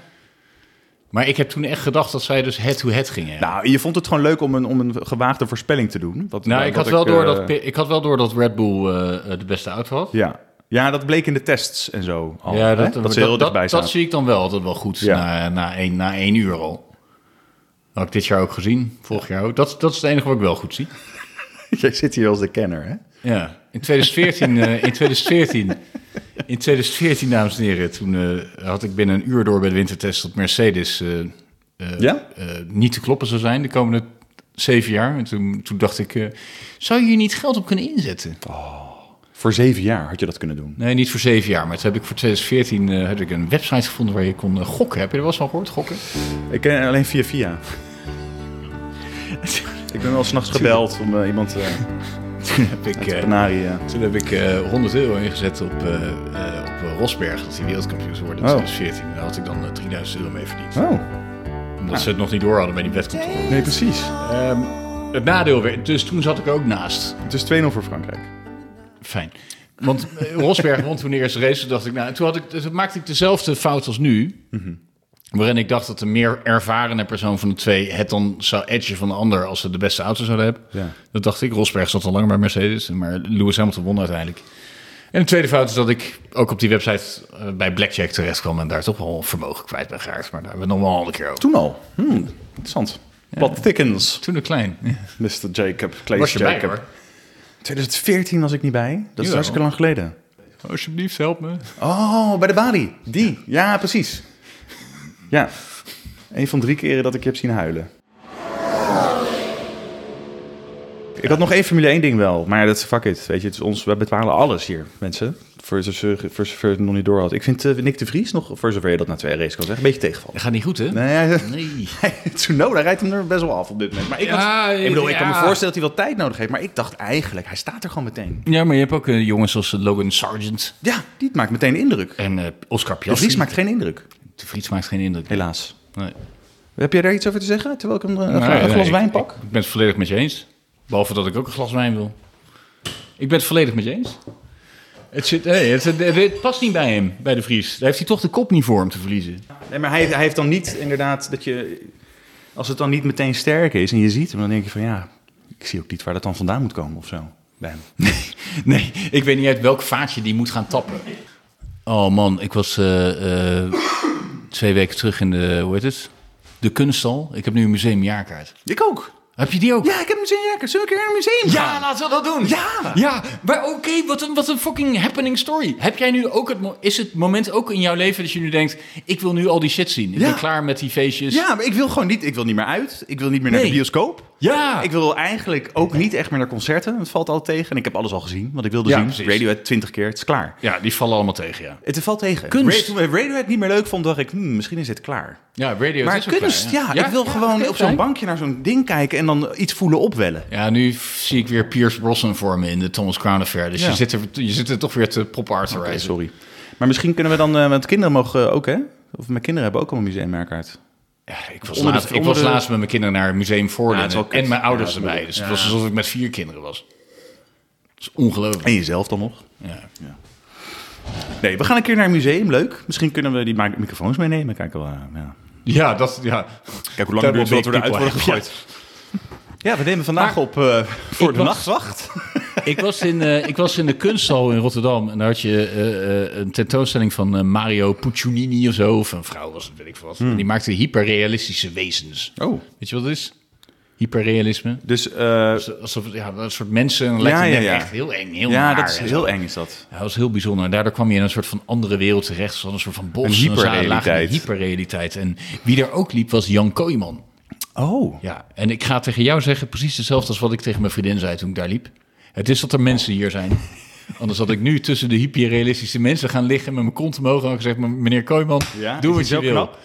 [SPEAKER 3] Maar ik heb toen echt gedacht dat zij dus head-to-head gingen. hebben.
[SPEAKER 4] Nou, je vond het gewoon leuk om een, om een gewaagde voorspelling te doen. Wat,
[SPEAKER 3] Nou,
[SPEAKER 4] wat
[SPEAKER 3] ik, had wel
[SPEAKER 4] eh,
[SPEAKER 3] door dat, Pe- ik had wel door dat Red Bull eh, eh, de beste auto had.
[SPEAKER 4] Ja, Ja, dat bleek in de tests en zo. al,
[SPEAKER 3] ja,
[SPEAKER 4] hè?
[SPEAKER 3] dat,
[SPEAKER 4] ze heel
[SPEAKER 3] dat,
[SPEAKER 4] dichtbij
[SPEAKER 3] dat,
[SPEAKER 4] staan.
[SPEAKER 3] dat zie ik dan wel altijd wel goed
[SPEAKER 4] Ja.
[SPEAKER 3] na, na, één, na één uur al. Dat had ik dit jaar ook gezien, vorig jaar ook. Dat, dat is het enige wat ik wel goed zie.
[SPEAKER 4] *laughs* Jij zit hier als de kenner, hè?
[SPEAKER 3] Ja, in 2014, eh, in 2014, in 2014, dames en heren, toen eh, had ik binnen een uur door bij de wintertest dat Mercedes eh, eh,
[SPEAKER 4] Ja?
[SPEAKER 3] eh, niet te kloppen zou zijn de komende zeven jaar. En toen, toen dacht ik, eh, zou je hier niet geld op kunnen inzetten?
[SPEAKER 4] Voor zeven jaar had je dat kunnen doen.
[SPEAKER 3] Nee, niet voor zeven jaar, maar toen heb ik voor 2014 eh, heb ik een website gevonden waar je kon eh, gokken. Heb je er wel eens van gehoord,
[SPEAKER 4] *laughs*
[SPEAKER 3] gokken?
[SPEAKER 4] Ik ken alleen via via. ik ben wel s'nachts gebeld om eh, iemand eh
[SPEAKER 3] Toen heb ik,
[SPEAKER 4] te
[SPEAKER 3] eh,
[SPEAKER 4] benaderen.
[SPEAKER 3] toen heb ik eh, 100 euro ingezet op, eh, eh, op eh, Rosberg, dat hij wereldkampioen zou worden in
[SPEAKER 4] Oh.
[SPEAKER 3] 2014. Daar had ik dan eh, 3000 euro mee verdiend.
[SPEAKER 4] Oh,
[SPEAKER 3] Omdat ze het nog niet door hadden bij die wetcontrole.
[SPEAKER 4] nee, precies.
[SPEAKER 3] Het nadeel werd, dus toen zat ik er ook naast.
[SPEAKER 4] Het is 2-0 voor Frankrijk.
[SPEAKER 3] Fijn. Want eh, Rosberg won toen de eerste race. Toen dacht ik, nou, toen, had ik, toen maakte ik dezelfde fout als nu. Waarin ik dacht dat de meer ervarene persoon van de twee het dan zou edgen van de ander als ze de beste auto zouden hebben.
[SPEAKER 4] Ja.
[SPEAKER 3] Dat dacht ik. Rosberg zat al langer bij Mercedes, maar Lewis Hamilton won uiteindelijk. En de tweede fout is dat ik ook op die website eh, bij Blackjack terecht kwam en daar toch wel vermogen kwijt ben geraakt. Maar daar hebben we het nog wel een andere keer over.
[SPEAKER 4] Toen al. Hmm, interessant. Wat thickens,
[SPEAKER 3] Toen een klein.
[SPEAKER 4] Mr. Jacob. Claes
[SPEAKER 3] Was je bij,
[SPEAKER 4] Jacob.
[SPEAKER 3] hoor.
[SPEAKER 4] 2014 was ik niet bij. Dat is
[SPEAKER 3] Jawel.
[SPEAKER 4] hartstikke lang geleden.
[SPEAKER 3] Alsjeblieft, help me.
[SPEAKER 4] Oh, bij de Bali. Die. Ja, precies. Ja. Een van drie keren dat ik je heb zien huilen. Ik had nog één Formule 1 ding wel, maar dat is fuck it. Weet je, het is ons, we betalen alles hier, mensen. Voor zover, voor zover het nog niet door had. Ik vind eh, Nick de Vries nog, voor zover je dat na twee races kan zeggen, een beetje tegenvallen.
[SPEAKER 3] Dat gaat niet goed, hè?
[SPEAKER 4] Nee, *laughs* hij-
[SPEAKER 3] Nee.
[SPEAKER 4] Tsunoda rijdt hem er best wel af op dit moment. Maar ik,
[SPEAKER 3] Ja,
[SPEAKER 4] had, ik, bedoel, ik kan me
[SPEAKER 3] ja.
[SPEAKER 4] voorstellen dat hij wel tijd nodig heeft. Maar ik dacht eigenlijk, hij staat er gewoon meteen.
[SPEAKER 3] Ja, maar je hebt ook eh, jongens als eh, Logan Sargent
[SPEAKER 4] Ja, die maakt meteen indruk.
[SPEAKER 3] en eh, Oscar
[SPEAKER 4] De
[SPEAKER 3] Piastri.
[SPEAKER 4] Vries maakt geen indruk,
[SPEAKER 3] De Vries maakt geen indruk.
[SPEAKER 4] helaas.
[SPEAKER 3] Nee.
[SPEAKER 4] Heb jij daar iets over te zeggen, terwijl ik hem eh, een,
[SPEAKER 3] Nee,
[SPEAKER 4] een
[SPEAKER 3] nee,
[SPEAKER 4] glas
[SPEAKER 3] ik-
[SPEAKER 4] wijn pak?
[SPEAKER 3] Ik, ik ben het volledig met je eens. Behalve dat ik ook een glas wijn wil. Ik ben het volledig met je eens. Het, zit, nee, het, het, het past niet bij hem, bij de Vries. Daar heeft hij toch de kop niet voor om te verliezen.
[SPEAKER 4] Nee, maar hij, hij heeft dan niet inderdaad dat je... Als het dan niet meteen sterk is en je ziet hem, dan denk je van ja... Ik zie ook niet waar dat dan vandaan moet komen of zo. Bij hem.
[SPEAKER 3] Nee, ik weet niet uit welk vaatje die moet gaan tappen. Oh man, ik was eh, eh, twee weken terug in de, hoe heet het? De kunststal. Ik heb nu een museumjaarkaart.
[SPEAKER 4] Ik ook.
[SPEAKER 3] Heb je die ook?
[SPEAKER 4] Ja, ik heb hem zin in. Zullen we een keer naar een museum
[SPEAKER 3] Ja,
[SPEAKER 4] gaan?
[SPEAKER 3] laten we dat doen.
[SPEAKER 4] Ja.
[SPEAKER 3] Ja, maar oké, wat, een, wat een fucking happening story. Heb jij nu ook het, mo- is het moment ook in jouw leven dat je nu denkt... ik wil nu al die shit zien. Ik
[SPEAKER 4] Ja.
[SPEAKER 3] ben klaar met die feestjes.
[SPEAKER 4] Ja, maar ik wil gewoon niet... Ik wil niet meer uit. Ik wil niet meer naar
[SPEAKER 3] Nee.
[SPEAKER 4] de bioscoop.
[SPEAKER 3] Ja.
[SPEAKER 4] Ik wil eigenlijk ook niet echt meer naar concerten. Het valt al tegen. En ik heb alles al gezien. Want ik wilde
[SPEAKER 3] Ja,
[SPEAKER 4] zien.
[SPEAKER 3] precies.
[SPEAKER 4] Radiohead 20 keer. Het is klaar.
[SPEAKER 3] ja, die vallen allemaal tegen, ja.
[SPEAKER 4] Het valt tegen.
[SPEAKER 3] Kunst.
[SPEAKER 4] Ra- toen we Radiohead niet meer leuk vond, dacht ik... hmm, misschien is het klaar.
[SPEAKER 3] Ja, radio
[SPEAKER 4] maar
[SPEAKER 3] is ook
[SPEAKER 4] kunst,
[SPEAKER 3] klaar,
[SPEAKER 4] ja. Ik wil gewoon
[SPEAKER 3] oké,
[SPEAKER 4] op zo'n
[SPEAKER 3] fijn.
[SPEAKER 4] bankje naar zo'n ding kijken... en dan iets voelen opwellen.
[SPEAKER 3] Ja, nu f- zie ik weer Piers Brosnan voor me in de Thomas Crown Affair. Dus
[SPEAKER 4] Ja.
[SPEAKER 3] je, zit er, je zit er toch weer te pop art te
[SPEAKER 4] Nee,
[SPEAKER 3] reizen.
[SPEAKER 4] sorry. Maar misschien kunnen we dan, eh want kinderen mogen eh, ook, hè? Of mijn kinderen hebben ook allemaal een museummerkaart.
[SPEAKER 3] Ja, ik was,
[SPEAKER 4] Onder de-
[SPEAKER 3] laatst, ik
[SPEAKER 4] onder
[SPEAKER 3] was
[SPEAKER 4] de-
[SPEAKER 3] laatst met mijn kinderen naar het museum
[SPEAKER 4] Ja,
[SPEAKER 3] Voordingen.
[SPEAKER 4] het is wel kut.
[SPEAKER 3] en mijn
[SPEAKER 4] Ja,
[SPEAKER 3] ouders
[SPEAKER 4] dat bedoel
[SPEAKER 3] erbij.
[SPEAKER 4] ik.
[SPEAKER 3] Dus het was alsof ik met vier kinderen was. Dat is ongelooflijk.
[SPEAKER 4] En jezelf dan nog.
[SPEAKER 3] Ja.
[SPEAKER 4] Nee, we gaan een keer naar een museum, leuk. Misschien kunnen we die ma- microfoons meenemen. Kijken we, eh, ja.
[SPEAKER 3] Ja, dat, ja.
[SPEAKER 4] Kijk hoe
[SPEAKER 3] lang duurt het voordat we eruit worden gegooid.
[SPEAKER 4] *laughs* Ja, we nemen vandaag
[SPEAKER 3] Maar-
[SPEAKER 4] op eh, voor
[SPEAKER 3] Ik
[SPEAKER 4] de
[SPEAKER 3] was-
[SPEAKER 4] nachtwacht.
[SPEAKER 3] Ik was, in, eh, ik was in de kunsthal in Rotterdam en daar had je eh, eh, een tentoonstelling van eh, Mario Puccinini of zo. Of een vrouw was het, weet ik veel wat. En Die maakte hyperrealistische wezens.
[SPEAKER 4] Hmm. Oh.
[SPEAKER 3] Weet je wat het is? Hyperrealisme.
[SPEAKER 4] Dus eh,
[SPEAKER 3] Alsof, ja, dat soort mensen en lijkt
[SPEAKER 4] Ja,
[SPEAKER 3] het
[SPEAKER 4] ja,
[SPEAKER 3] net
[SPEAKER 4] ja.
[SPEAKER 3] echt heel eng, heel
[SPEAKER 4] ja,
[SPEAKER 3] naar
[SPEAKER 4] dat is
[SPEAKER 3] en zo.
[SPEAKER 4] heel eng is dat.
[SPEAKER 3] Ja, dat was heel bijzonder. En daardoor kwam je in een soort van andere wereld terecht. Zoals een soort van bos.
[SPEAKER 4] Een
[SPEAKER 3] En dan zagen-
[SPEAKER 4] hyperrealiteit.
[SPEAKER 3] lagen die hyperrealiteit. En wie daar ook liep was Jan Kooijman.
[SPEAKER 4] Oh.
[SPEAKER 3] Ja, en ik ga tegen jou zeggen precies hetzelfde als wat ik tegen mijn vriendin zei toen ik daar liep. Het is dat er mensen hier zijn.
[SPEAKER 4] *laughs*
[SPEAKER 3] Anders had ik nu tussen de hyperrealistische mensen gaan liggen met mijn kont omhoog en had ik gezegd, meneer Kooijman,
[SPEAKER 4] Ja,
[SPEAKER 3] doe
[SPEAKER 4] is
[SPEAKER 3] wat
[SPEAKER 4] die
[SPEAKER 3] je
[SPEAKER 4] zo
[SPEAKER 3] wil.
[SPEAKER 4] knap?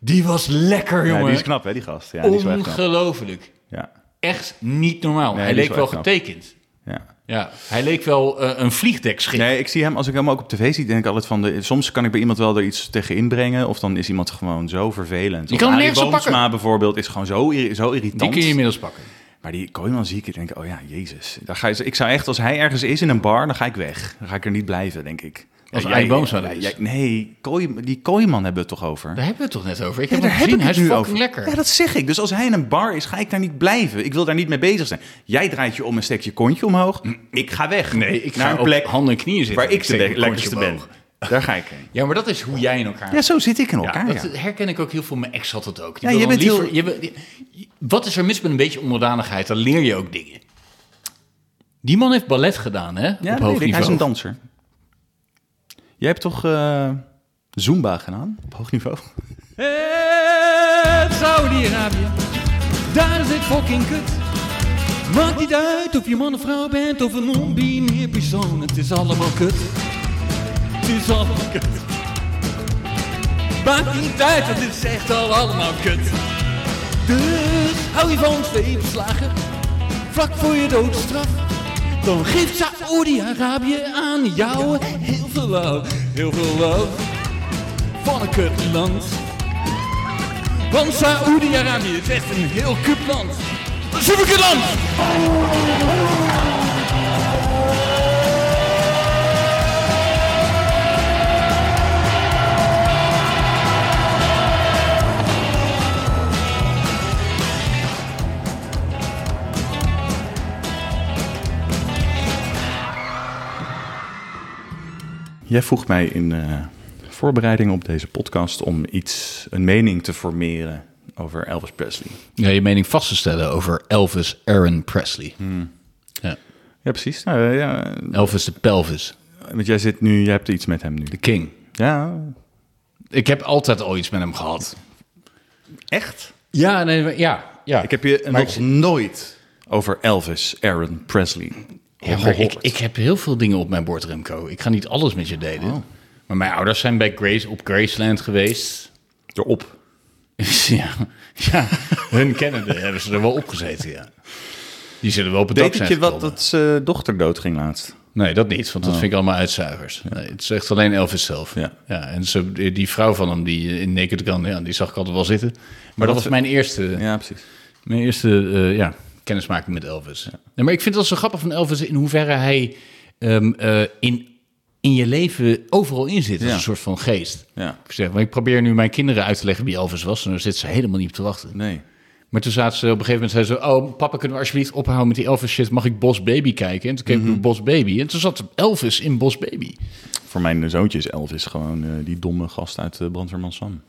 [SPEAKER 3] Die was lekker,
[SPEAKER 4] Ja,
[SPEAKER 3] jongen.
[SPEAKER 4] die is knap, hè, die gast. Ja, die is wel echt knap.
[SPEAKER 3] Ongelooflijk.
[SPEAKER 4] Ja,
[SPEAKER 3] Echt niet normaal.
[SPEAKER 4] Nee,
[SPEAKER 3] hij
[SPEAKER 4] die is
[SPEAKER 3] leek
[SPEAKER 4] wel
[SPEAKER 3] wel
[SPEAKER 4] echt knap.
[SPEAKER 3] getekend.
[SPEAKER 4] ja.
[SPEAKER 3] Ja, hij leek wel eh, een vliegdekschip.
[SPEAKER 4] Nee, ik zie hem, als ik hem ook op tv zie, denk ik altijd van... De, soms kan ik bij iemand wel er iets tegen inbrengen... of dan is iemand gewoon zo vervelend.
[SPEAKER 3] Je kan hem
[SPEAKER 4] Arie
[SPEAKER 3] nergens op
[SPEAKER 4] Boomsma
[SPEAKER 3] pakken.
[SPEAKER 4] bijvoorbeeld is gewoon zo, irri- zo irritant.
[SPEAKER 3] Die kun je inmiddels pakken.
[SPEAKER 4] Maar die Kooijman zie ik en denk ik, oh ja, jezus. Daar ga je, ik zou echt, als hij ergens is in een bar, dan ga ik weg. Dan ga ik er niet blijven, denk ik. Want
[SPEAKER 3] Als
[SPEAKER 4] Ja,
[SPEAKER 3] Arie
[SPEAKER 4] jij-
[SPEAKER 3] Boomsma
[SPEAKER 4] ja,
[SPEAKER 3] dat is.
[SPEAKER 4] jij- nee, kooi, die kooiman hebben we het toch over?
[SPEAKER 3] Daar hebben we het toch net over? Ik
[SPEAKER 4] Ja,
[SPEAKER 3] heb hem
[SPEAKER 4] daar heb
[SPEAKER 3] gezien.
[SPEAKER 4] ik
[SPEAKER 3] Hij is
[SPEAKER 4] het nu
[SPEAKER 3] fucking
[SPEAKER 4] over.
[SPEAKER 3] lekker.
[SPEAKER 4] Ja, dat zeg ik. Dus als hij in een bar is, ga ik daar niet blijven. Ik wil daar niet mee bezig zijn. Jij draait je om en steekt je kontje omhoog. Ik ga weg.
[SPEAKER 3] Nee, ik
[SPEAKER 4] naar
[SPEAKER 3] ga
[SPEAKER 4] een plek
[SPEAKER 3] op handen en knieën zitten.
[SPEAKER 4] waar ik de
[SPEAKER 3] steek
[SPEAKER 4] be-
[SPEAKER 3] mijn
[SPEAKER 4] lekkerste
[SPEAKER 3] kontje
[SPEAKER 4] ben.
[SPEAKER 3] omhoog.
[SPEAKER 4] Daar ga ik heen.
[SPEAKER 3] Ja, maar dat is hoe jij in elkaar
[SPEAKER 4] Ja, zo zit ik in
[SPEAKER 3] Ja,
[SPEAKER 4] elkaar.
[SPEAKER 3] dat
[SPEAKER 4] ja.
[SPEAKER 3] herken ik ook heel veel. Mijn ex had dat ook. Die
[SPEAKER 4] Ja,
[SPEAKER 3] wil
[SPEAKER 4] je
[SPEAKER 3] dan
[SPEAKER 4] bent
[SPEAKER 3] liever, je wil- die- wat is er mis met een beetje onderdanigheid? Dan leer je ook dingen. Die man heeft ballet gedaan, hè?
[SPEAKER 4] Ja,
[SPEAKER 3] op
[SPEAKER 4] dat
[SPEAKER 3] hoog
[SPEAKER 4] weet ik.
[SPEAKER 3] niveau.
[SPEAKER 4] Hij is een danser. Jij hebt toch eh, Zumba gedaan op hoog niveau?
[SPEAKER 6] Het Saudi-Arabië, daar is het fucking kut. Maakt niet uit of je man of vrouw bent of een non-binair persoon. Het is allemaal kut. Het is allemaal kut. Maakt niet uit, het is echt al allemaal kut. Dus hou je van twee verslagen, vlak voor je doodstraf. Dan geeft Saoedi-Arabië aan jou heel veel love, heel veel love. Van een kutland. Want Saoedi-Arabië is echt een heel kut land. Een superkut land!
[SPEAKER 4] Jij vroeg mij in eh, voorbereiding op deze podcast om iets, een mening te formeren over Elvis Presley.
[SPEAKER 3] Ja, je mening vast te stellen over Elvis Aaron Presley.
[SPEAKER 6] Hmm.
[SPEAKER 3] Ja.
[SPEAKER 4] Ja, precies. Nou, eh, ja,
[SPEAKER 3] Elvis de pelvis,
[SPEAKER 4] want jij zit nu, jij hebt iets met hem nu.
[SPEAKER 3] de king.
[SPEAKER 4] Ja,
[SPEAKER 3] Ik heb altijd al iets met hem gehad.
[SPEAKER 4] echt?
[SPEAKER 3] Ja, nee, maar- ja, ja.
[SPEAKER 4] Ik heb je
[SPEAKER 3] Maar
[SPEAKER 4] nog
[SPEAKER 3] ik-
[SPEAKER 4] nooit over Elvis Aaron Presley
[SPEAKER 3] Ja, maar ik, ik heb heel veel dingen op mijn bord, Remco. Ik ga niet alles met je delen.
[SPEAKER 6] Oh.
[SPEAKER 3] Maar mijn ouders zijn bij Grace op Graceland geweest. *laughs* Dus
[SPEAKER 4] erop.
[SPEAKER 3] ja, ja, hun kennende hebben ze er wel op gezeten, ja. Die zullen wel op het dak
[SPEAKER 4] Deed het
[SPEAKER 3] zijn
[SPEAKER 4] je wat
[SPEAKER 3] gekomen.
[SPEAKER 4] dat zijn dochter dood ging laatst?
[SPEAKER 3] Nee, dat niet, want dat vind ik allemaal uitzuigers. Nee, het is echt alleen Elvis zelf.
[SPEAKER 4] Oh. Ja.
[SPEAKER 3] en ze, die die vrouw van hem, die eh, in Naked Gun, ja, die zag ik altijd wel zitten. Maar, dat was mijn eerste...
[SPEAKER 4] Ja, precies.
[SPEAKER 3] Mijn eerste eh, ja, kennismaking met Elvis. Nee, maar ik vind dat zo grappig van Elvis in hoeverre hij ehm, eh, in, in je leven overal in zit. Als
[SPEAKER 4] Ja.
[SPEAKER 3] een soort van geest.
[SPEAKER 4] Ja.
[SPEAKER 3] Ik, zeg, maar ik probeer nu mijn kinderen uit te leggen wie Elvis was. En daar zitten ze helemaal niet op te wachten.
[SPEAKER 4] Nee.
[SPEAKER 3] Maar toen zaten ze op een gegeven moment zeiden ze... Oh, papa, kunnen we alsjeblieft ophouden met die Elvis shit? Mag ik Bos Baby kijken? En toen keek
[SPEAKER 4] Mhm.
[SPEAKER 3] ik Bos Baby. En toen zat Elvis in Bos Baby.
[SPEAKER 4] Voor mijn zoontje is Elvis gewoon eh, die domme gast uit eh, Brandweerman Sam.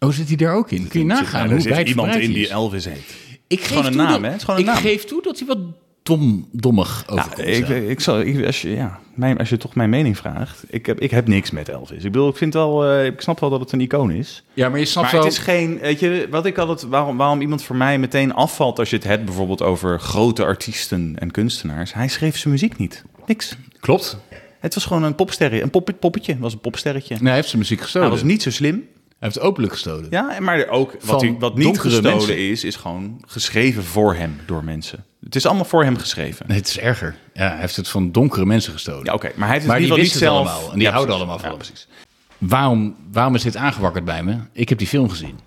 [SPEAKER 3] Oh, zit hij daar ook in? Kun je nagaan
[SPEAKER 4] Er
[SPEAKER 3] hoe
[SPEAKER 4] zit
[SPEAKER 3] wijd
[SPEAKER 4] iemand
[SPEAKER 3] verbreid
[SPEAKER 4] in
[SPEAKER 3] hij
[SPEAKER 4] die
[SPEAKER 3] is.
[SPEAKER 4] Elvis heet.
[SPEAKER 3] Ik geef
[SPEAKER 4] gewoon een
[SPEAKER 3] toe
[SPEAKER 4] naam,
[SPEAKER 3] dat-
[SPEAKER 4] hè? Het is gewoon een
[SPEAKER 3] Ik
[SPEAKER 4] naam.
[SPEAKER 3] geef toe dat hij wat dom, dommig overkomt.
[SPEAKER 4] ik,
[SPEAKER 3] ja.
[SPEAKER 4] ik zal, ik, als, je, ja, mijn, als je toch mijn mening vraagt, ik heb, ik heb niks met Elvis. Ik bedoel, ik, vind wel, eh, ik snap wel dat het een icoon is.
[SPEAKER 3] Ja, maar je snapt
[SPEAKER 4] Maar
[SPEAKER 3] wel...
[SPEAKER 4] het is geen, weet je, wat ik altijd, waarom, waarom iemand voor mij meteen afvalt als je het hebt bijvoorbeeld over grote artiesten en kunstenaars. Hij schreef zijn muziek niet. Niks.
[SPEAKER 3] Klopt.
[SPEAKER 4] Het was gewoon een popsterretje, een pop, poppetje, was een popsterretje.
[SPEAKER 3] Nee, hij heeft zijn muziek
[SPEAKER 4] hij
[SPEAKER 3] gestolen.
[SPEAKER 4] was niet zo slim.
[SPEAKER 3] Hij heeft openlijk gestolen.
[SPEAKER 4] Ja, maar ook
[SPEAKER 3] Van
[SPEAKER 4] wat, hij, wat niet
[SPEAKER 3] donkere
[SPEAKER 4] gestolen
[SPEAKER 3] mensen.
[SPEAKER 4] is, is gewoon geschreven voor hem door mensen. Het is allemaal voor hem geschreven.
[SPEAKER 3] Nee, het is erger. Ja, hij heeft het van donkere mensen gestolen.
[SPEAKER 4] Ja, oké, maar hij heeft
[SPEAKER 3] Maar
[SPEAKER 4] het in
[SPEAKER 3] die
[SPEAKER 4] ieder
[SPEAKER 3] wisten
[SPEAKER 4] geval
[SPEAKER 3] het
[SPEAKER 4] niet zelf.
[SPEAKER 3] allemaal. En die
[SPEAKER 4] Ja,
[SPEAKER 3] houden
[SPEAKER 4] precies.
[SPEAKER 3] allemaal van
[SPEAKER 4] Ja,
[SPEAKER 3] hem.
[SPEAKER 4] precies.
[SPEAKER 3] Waarom, waarom is dit aangewakkerd bij me? Ik heb die film gezien.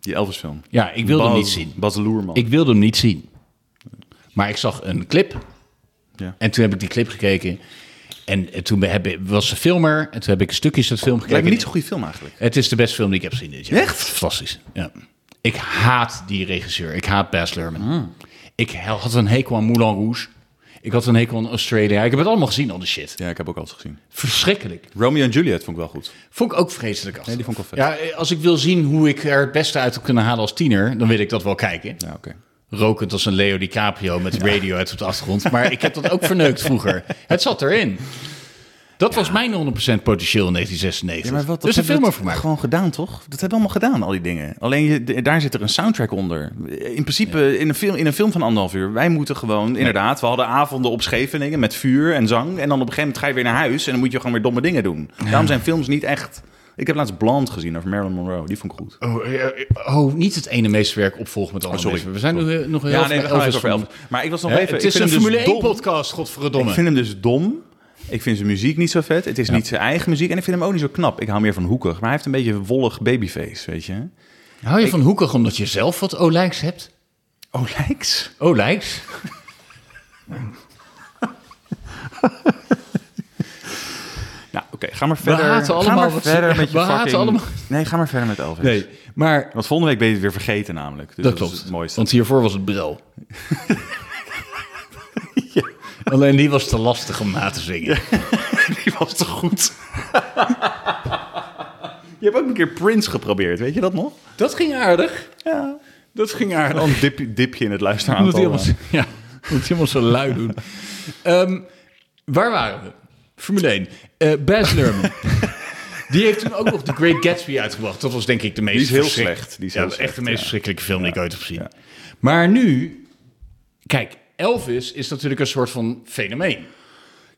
[SPEAKER 4] Die Elvis-film.
[SPEAKER 3] Ja, ik wilde hem niet zien.
[SPEAKER 4] Bas Loerman.
[SPEAKER 3] Ik wilde hem niet zien. Maar ik zag een clip.
[SPEAKER 4] Ja.
[SPEAKER 3] En toen heb ik die clip gekeken. En eh, toen heb ik, was de filmer. En toen heb ik stukjes uit de film gekeken.
[SPEAKER 4] Lijkt me niet zo'n goede film eigenlijk.
[SPEAKER 3] Het is de beste film die ik heb gezien dit jaar.
[SPEAKER 4] Echt?
[SPEAKER 3] Fantastisch. Ja. Ik haat die regisseur. Ik haat Baz Luhrmann.
[SPEAKER 4] Hmm.
[SPEAKER 3] Ik had een hekel aan Moulin Rouge. Ik had een hekel aan Australia. Ik heb het allemaal gezien, al die shit.
[SPEAKER 4] Ja, ik heb ook altijd gezien.
[SPEAKER 3] Verschrikkelijk.
[SPEAKER 4] Romeo en Juliet vond ik wel goed.
[SPEAKER 3] Vond ik ook vreselijk af.
[SPEAKER 4] Nee, die vond ik wel
[SPEAKER 3] Ja, eh, als ik wil zien hoe ik er het beste uit heb kunnen halen als tiener, dan wil ik dat wel kijken.
[SPEAKER 4] Ja, oké.
[SPEAKER 3] Rokend als een Leo DiCaprio met radio uit op de achtergrond. Maar ik heb dat ook verneukt vroeger. Het zat erin. Dat was mijn 100% potentieel in 1996. dus een film over maken.
[SPEAKER 4] Gewoon gedaan, toch? Dat hebben we allemaal gedaan, al die dingen. Alleen je, d- daar zit er een soundtrack onder. In principe, in, een film, in een film van anderhalf uur, wij moeten gewoon, inderdaad, we hadden avonden op Scheveningen met vuur en zang. En dan op een gegeven moment ga je weer naar huis en dan moet je gewoon weer domme dingen doen. Daarom zijn films niet echt. Ik heb laatst Blond gezien over Marilyn Monroe. Die vond ik goed.
[SPEAKER 3] Oh, eh, eh, oh, niet het ene meesterwerk opvolgen met het andere.
[SPEAKER 4] Oh, sorry.
[SPEAKER 3] meesterwerk. We zijn nu eh, nog heel
[SPEAKER 4] ja,
[SPEAKER 3] veel
[SPEAKER 4] nee, we gaan
[SPEAKER 3] Elvis
[SPEAKER 4] even over Elvis.
[SPEAKER 3] van-
[SPEAKER 4] Maar ik was nog
[SPEAKER 3] Hè,
[SPEAKER 4] even.
[SPEAKER 3] het
[SPEAKER 4] ik
[SPEAKER 3] is
[SPEAKER 4] vind
[SPEAKER 3] een
[SPEAKER 4] hem dus
[SPEAKER 3] Formule 1
[SPEAKER 4] dom.
[SPEAKER 3] podcast, godverdomme.
[SPEAKER 4] Ik vind hem dus dom. Ik vind zijn muziek niet zo vet. Het is niet zijn eigen muziek. En ik vind hem ook niet zo knap. Ik hou meer van hoekig. Maar hij heeft een beetje een wollig babyface, weet je.
[SPEAKER 3] Hou je van hoekig omdat je zelf wat olijks hebt? *laughs*
[SPEAKER 4] Oh, lijks.
[SPEAKER 3] Olijks?
[SPEAKER 4] Nou, oké. Ga maar verder.
[SPEAKER 3] haten
[SPEAKER 4] ga
[SPEAKER 3] allemaal
[SPEAKER 4] maar
[SPEAKER 3] wat-
[SPEAKER 4] verder met
[SPEAKER 3] *laughs*
[SPEAKER 4] je
[SPEAKER 3] we haten
[SPEAKER 4] fucking...
[SPEAKER 3] allemaal-
[SPEAKER 4] Nee, ga maar verder met Elvis.
[SPEAKER 3] Nee, maar
[SPEAKER 4] Want volgende week ben je het weer vergeten namelijk. Dus
[SPEAKER 3] dat
[SPEAKER 4] Is
[SPEAKER 3] klopt.
[SPEAKER 4] het mooiste.
[SPEAKER 3] Want hiervoor was het bril. Alleen die was te lastig om na te zingen.
[SPEAKER 4] *laughs* *laughs* die was toch goed? je hebt ook een keer Prince geprobeerd, weet je dat nog?
[SPEAKER 3] Dat ging aardig.
[SPEAKER 4] Ja.
[SPEAKER 3] Dat ging aardig.
[SPEAKER 4] Dan dip, dipje in het luisteraantal.
[SPEAKER 3] Moet iemand, ja, moet iemand zo lui doen. Ehm, waar waren we? Formule 1. Eh Baz
[SPEAKER 4] *laughs*
[SPEAKER 3] Luhrmann. Die heeft toen ook nog The Great Gatsby uitgebracht. Dat was denk ik de meest
[SPEAKER 4] Die is heel
[SPEAKER 3] verschrik-
[SPEAKER 4] slecht. Die is
[SPEAKER 3] ja,
[SPEAKER 4] heel
[SPEAKER 3] echt de
[SPEAKER 4] slecht,
[SPEAKER 3] meest
[SPEAKER 4] ja.
[SPEAKER 3] verschrikkelijke film die ik ooit heb gezien. Maar nu... Kijk, Elvis is natuurlijk een soort van fenomeen.
[SPEAKER 4] eh.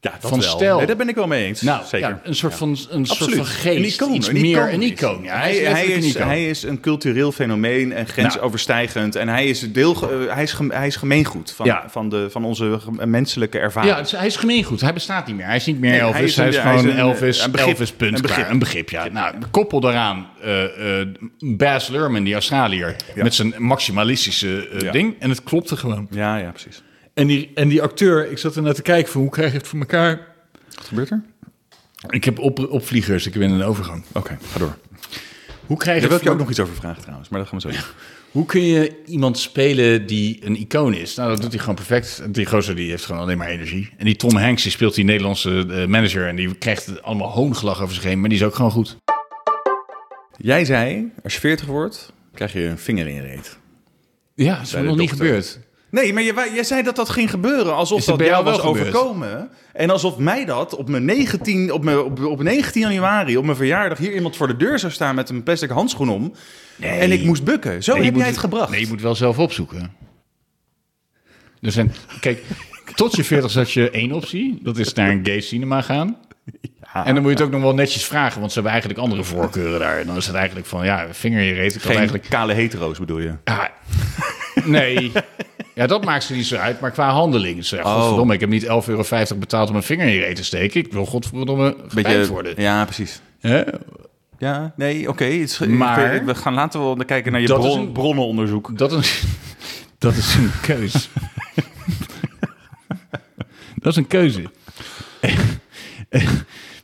[SPEAKER 4] Ja, dat
[SPEAKER 3] Van
[SPEAKER 4] wel.
[SPEAKER 3] stijl.
[SPEAKER 4] Nee, daar ben ik wel mee eens.
[SPEAKER 3] Nou,
[SPEAKER 4] Zeker.
[SPEAKER 3] ja, een soort van, een soort
[SPEAKER 4] Absoluut.
[SPEAKER 3] van geest. Iets meer een
[SPEAKER 4] is
[SPEAKER 3] icoon. Ja,
[SPEAKER 4] hij.
[SPEAKER 3] hij,
[SPEAKER 4] hij,
[SPEAKER 3] is,
[SPEAKER 4] is,
[SPEAKER 3] een icoon.
[SPEAKER 4] hij is een cultureel fenomeen en grensoverstijgend. En hij is, deel, eh, hij is, gem- hij is gemeengoed van,
[SPEAKER 3] Ja.
[SPEAKER 4] van, de, van onze gem- menselijke ervaring.
[SPEAKER 3] Ja, het is- hij is gemeengoed. Hij bestaat niet meer. Hij is niet meer
[SPEAKER 4] Nee,
[SPEAKER 3] Elvis. Hij is,
[SPEAKER 4] een- hij is
[SPEAKER 3] gewoon
[SPEAKER 4] een,
[SPEAKER 3] Elvis.
[SPEAKER 4] eh, een begrip.
[SPEAKER 3] Elvis punt
[SPEAKER 4] Een
[SPEAKER 3] klaar.
[SPEAKER 4] begrip.
[SPEAKER 3] Een begrip, ja. Nou, koppel daaraan eh eh Baz Luhrmann, die Australiër, met zijn maximalistische eh,
[SPEAKER 4] Ja.
[SPEAKER 3] ding. En het klopte gewoon.
[SPEAKER 4] ja, ja, precies.
[SPEAKER 3] En die, en die acteur, ik zat er naar te kijken van hoe krijg je het voor elkaar?
[SPEAKER 4] Wat gebeurt er?
[SPEAKER 3] Ik heb op, opvliegers, ik ben in een overgang.
[SPEAKER 4] Oké, ga door.
[SPEAKER 3] Hoe krijg je
[SPEAKER 4] Daar
[SPEAKER 3] het
[SPEAKER 4] wil ik je
[SPEAKER 3] voor
[SPEAKER 4] ook nog iets over vragen trouwens, maar dat gaan we zo doen.
[SPEAKER 3] Hoe kun je iemand spelen die een icoon is? Nou, dat doet hij gewoon perfect. Die gozer die heeft gewoon alleen maar energie. En die Tom Hanks, die speelt die Nederlandse eh, manager... en die krijgt allemaal hoongelach over zich heen, maar die is ook gewoon goed.
[SPEAKER 4] Jij zei, als je 40 wordt, krijg je een vinger in je reet.
[SPEAKER 3] Ja, dat is nog
[SPEAKER 4] de
[SPEAKER 3] niet
[SPEAKER 4] dokter.
[SPEAKER 3] gebeurd.
[SPEAKER 4] Nee, maar jij, jij zei dat dat ging gebeuren. Alsof
[SPEAKER 3] Is het
[SPEAKER 4] dat
[SPEAKER 3] bij
[SPEAKER 4] jou
[SPEAKER 3] jou
[SPEAKER 4] was
[SPEAKER 3] wel gebeurd?
[SPEAKER 4] overkomen. En alsof mij dat op mijn 19, op mijn, op, op 19 januari, op mijn verjaardag, hier iemand voor de deur zou staan met een plastic handschoen om. En ik moest bukken. Zo
[SPEAKER 3] Nee, je
[SPEAKER 4] heb
[SPEAKER 3] moet-
[SPEAKER 4] jij het gebracht.
[SPEAKER 3] Nee, je moet wel zelf opzoeken. Er zijn, kijk, tot je 40 had je één optie. Dat is naar een gay cinema gaan. En dan moet je het ook nog wel netjes vragen, want ze hebben eigenlijk andere voorkeuren daar. En dan is het eigenlijk van, ja, vinger in je reet. Ik had
[SPEAKER 4] Geen
[SPEAKER 3] eigenlijk...
[SPEAKER 4] kale hetero's bedoel je?
[SPEAKER 3] Ja, nee. Ja, dat maakt ze niet zo uit. Maar qua handeling. Zeg,
[SPEAKER 4] Oh.
[SPEAKER 3] Godverdomme, ik heb niet 11,50 euro betaald om een vinger in je reet te steken. Ik wil godverdomme gepijpt worden.
[SPEAKER 4] ja, precies.
[SPEAKER 3] Hè?
[SPEAKER 4] Ja, nee, oké. het is-
[SPEAKER 3] Maar-
[SPEAKER 4] ik- we gaan later wel kijken naar je
[SPEAKER 3] Dat is
[SPEAKER 4] bron-
[SPEAKER 3] een-
[SPEAKER 4] bronnenonderzoek.
[SPEAKER 3] Dat is, dat is een keus. dat is een keuze.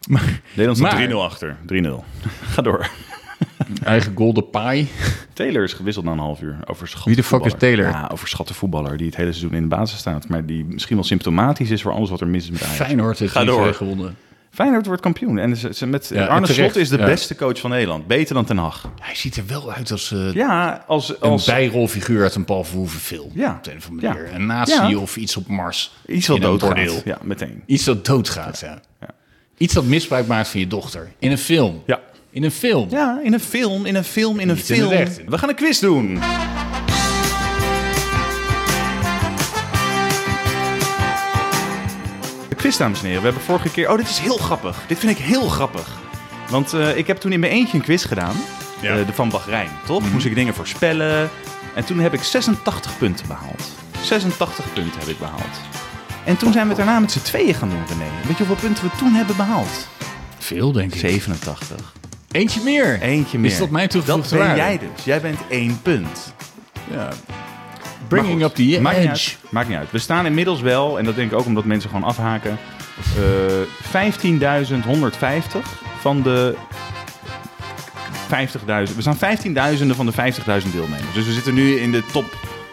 [SPEAKER 3] maar,
[SPEAKER 4] Nederland
[SPEAKER 3] Maar-
[SPEAKER 4] staat 3-0 achter. 3-0. *laughs* Ga door.
[SPEAKER 3] eigen golden pie.
[SPEAKER 4] Taylor is gewisseld na een half uur. Overschatte
[SPEAKER 3] Wie de fuck is
[SPEAKER 4] voetballer.
[SPEAKER 3] Taylor?
[SPEAKER 4] Ja, overschatte voetballer die het hele seizoen in de basis staat. Maar die misschien wel symptomatisch is voor alles wat er mis is met Ajax.
[SPEAKER 3] Feyenoord heeft
[SPEAKER 4] Ga
[SPEAKER 3] die
[SPEAKER 4] door.
[SPEAKER 3] twee gewonnen.
[SPEAKER 4] Feyenoord wordt kampioen. En ze, ze met,
[SPEAKER 3] Ja,
[SPEAKER 4] Arne
[SPEAKER 3] terecht.
[SPEAKER 4] Slot is de
[SPEAKER 3] Ja.
[SPEAKER 4] beste coach van Nederland. Beter dan Ten Hag.
[SPEAKER 3] Hij ziet er wel uit als eh,
[SPEAKER 4] Ja, als,
[SPEAKER 3] een
[SPEAKER 4] als
[SPEAKER 3] bijrolfiguur uit een Paul Verhoeven film.
[SPEAKER 4] Ja.
[SPEAKER 3] Op de een of andere manier.
[SPEAKER 4] Ja.
[SPEAKER 3] Een nazi
[SPEAKER 4] Ja.
[SPEAKER 3] of iets op Mars.
[SPEAKER 4] iets wat
[SPEAKER 3] In een
[SPEAKER 4] doodgaat.
[SPEAKER 3] bordeel.
[SPEAKER 4] Ja, meteen.
[SPEAKER 3] Iets dat doodgaat, ja. Iets dat misbruik maakt van je dochter. In een film.
[SPEAKER 4] Ja.
[SPEAKER 3] In een film.
[SPEAKER 4] Ja, in een film, in een film, in een
[SPEAKER 3] in
[SPEAKER 4] film.
[SPEAKER 3] het echt.
[SPEAKER 4] We gaan een quiz doen. De quiz, dames en heren. We hebben vorige keer... Oh, dit is heel grappig. Dit vind ik heel grappig. Want eh, ik heb toen in mijn eentje een quiz gedaan.
[SPEAKER 3] Ja.
[SPEAKER 4] Eh, de Van Bahrein, toch? Moest ik dingen voorspellen. En toen heb ik 86 punten behaald. 86 punten heb ik behaald. En toen zijn we het daarna met z'n tweeën gaan doen, René. Weet je hoeveel punten we toen hebben behaald?
[SPEAKER 3] Veel, denk ik.
[SPEAKER 4] 87.
[SPEAKER 3] Eentje meer.
[SPEAKER 4] Eentje meer.
[SPEAKER 3] Is dat mijn
[SPEAKER 4] Dat
[SPEAKER 3] toegevoegde
[SPEAKER 4] ben
[SPEAKER 3] waarde?
[SPEAKER 4] jij dus. Jij bent één punt.
[SPEAKER 3] Ja. Bringing
[SPEAKER 4] Maar
[SPEAKER 3] up
[SPEAKER 4] goed,
[SPEAKER 3] the
[SPEAKER 4] maakt Niet
[SPEAKER 3] edge.
[SPEAKER 4] uit. Maakt niet uit. We staan inmiddels wel, en dat denk ik ook omdat mensen gewoon afhaken, eh 15.150 van de 50.000. We staan 15.000 van de 50.000 deelnemers. Dus we zitten nu in de top,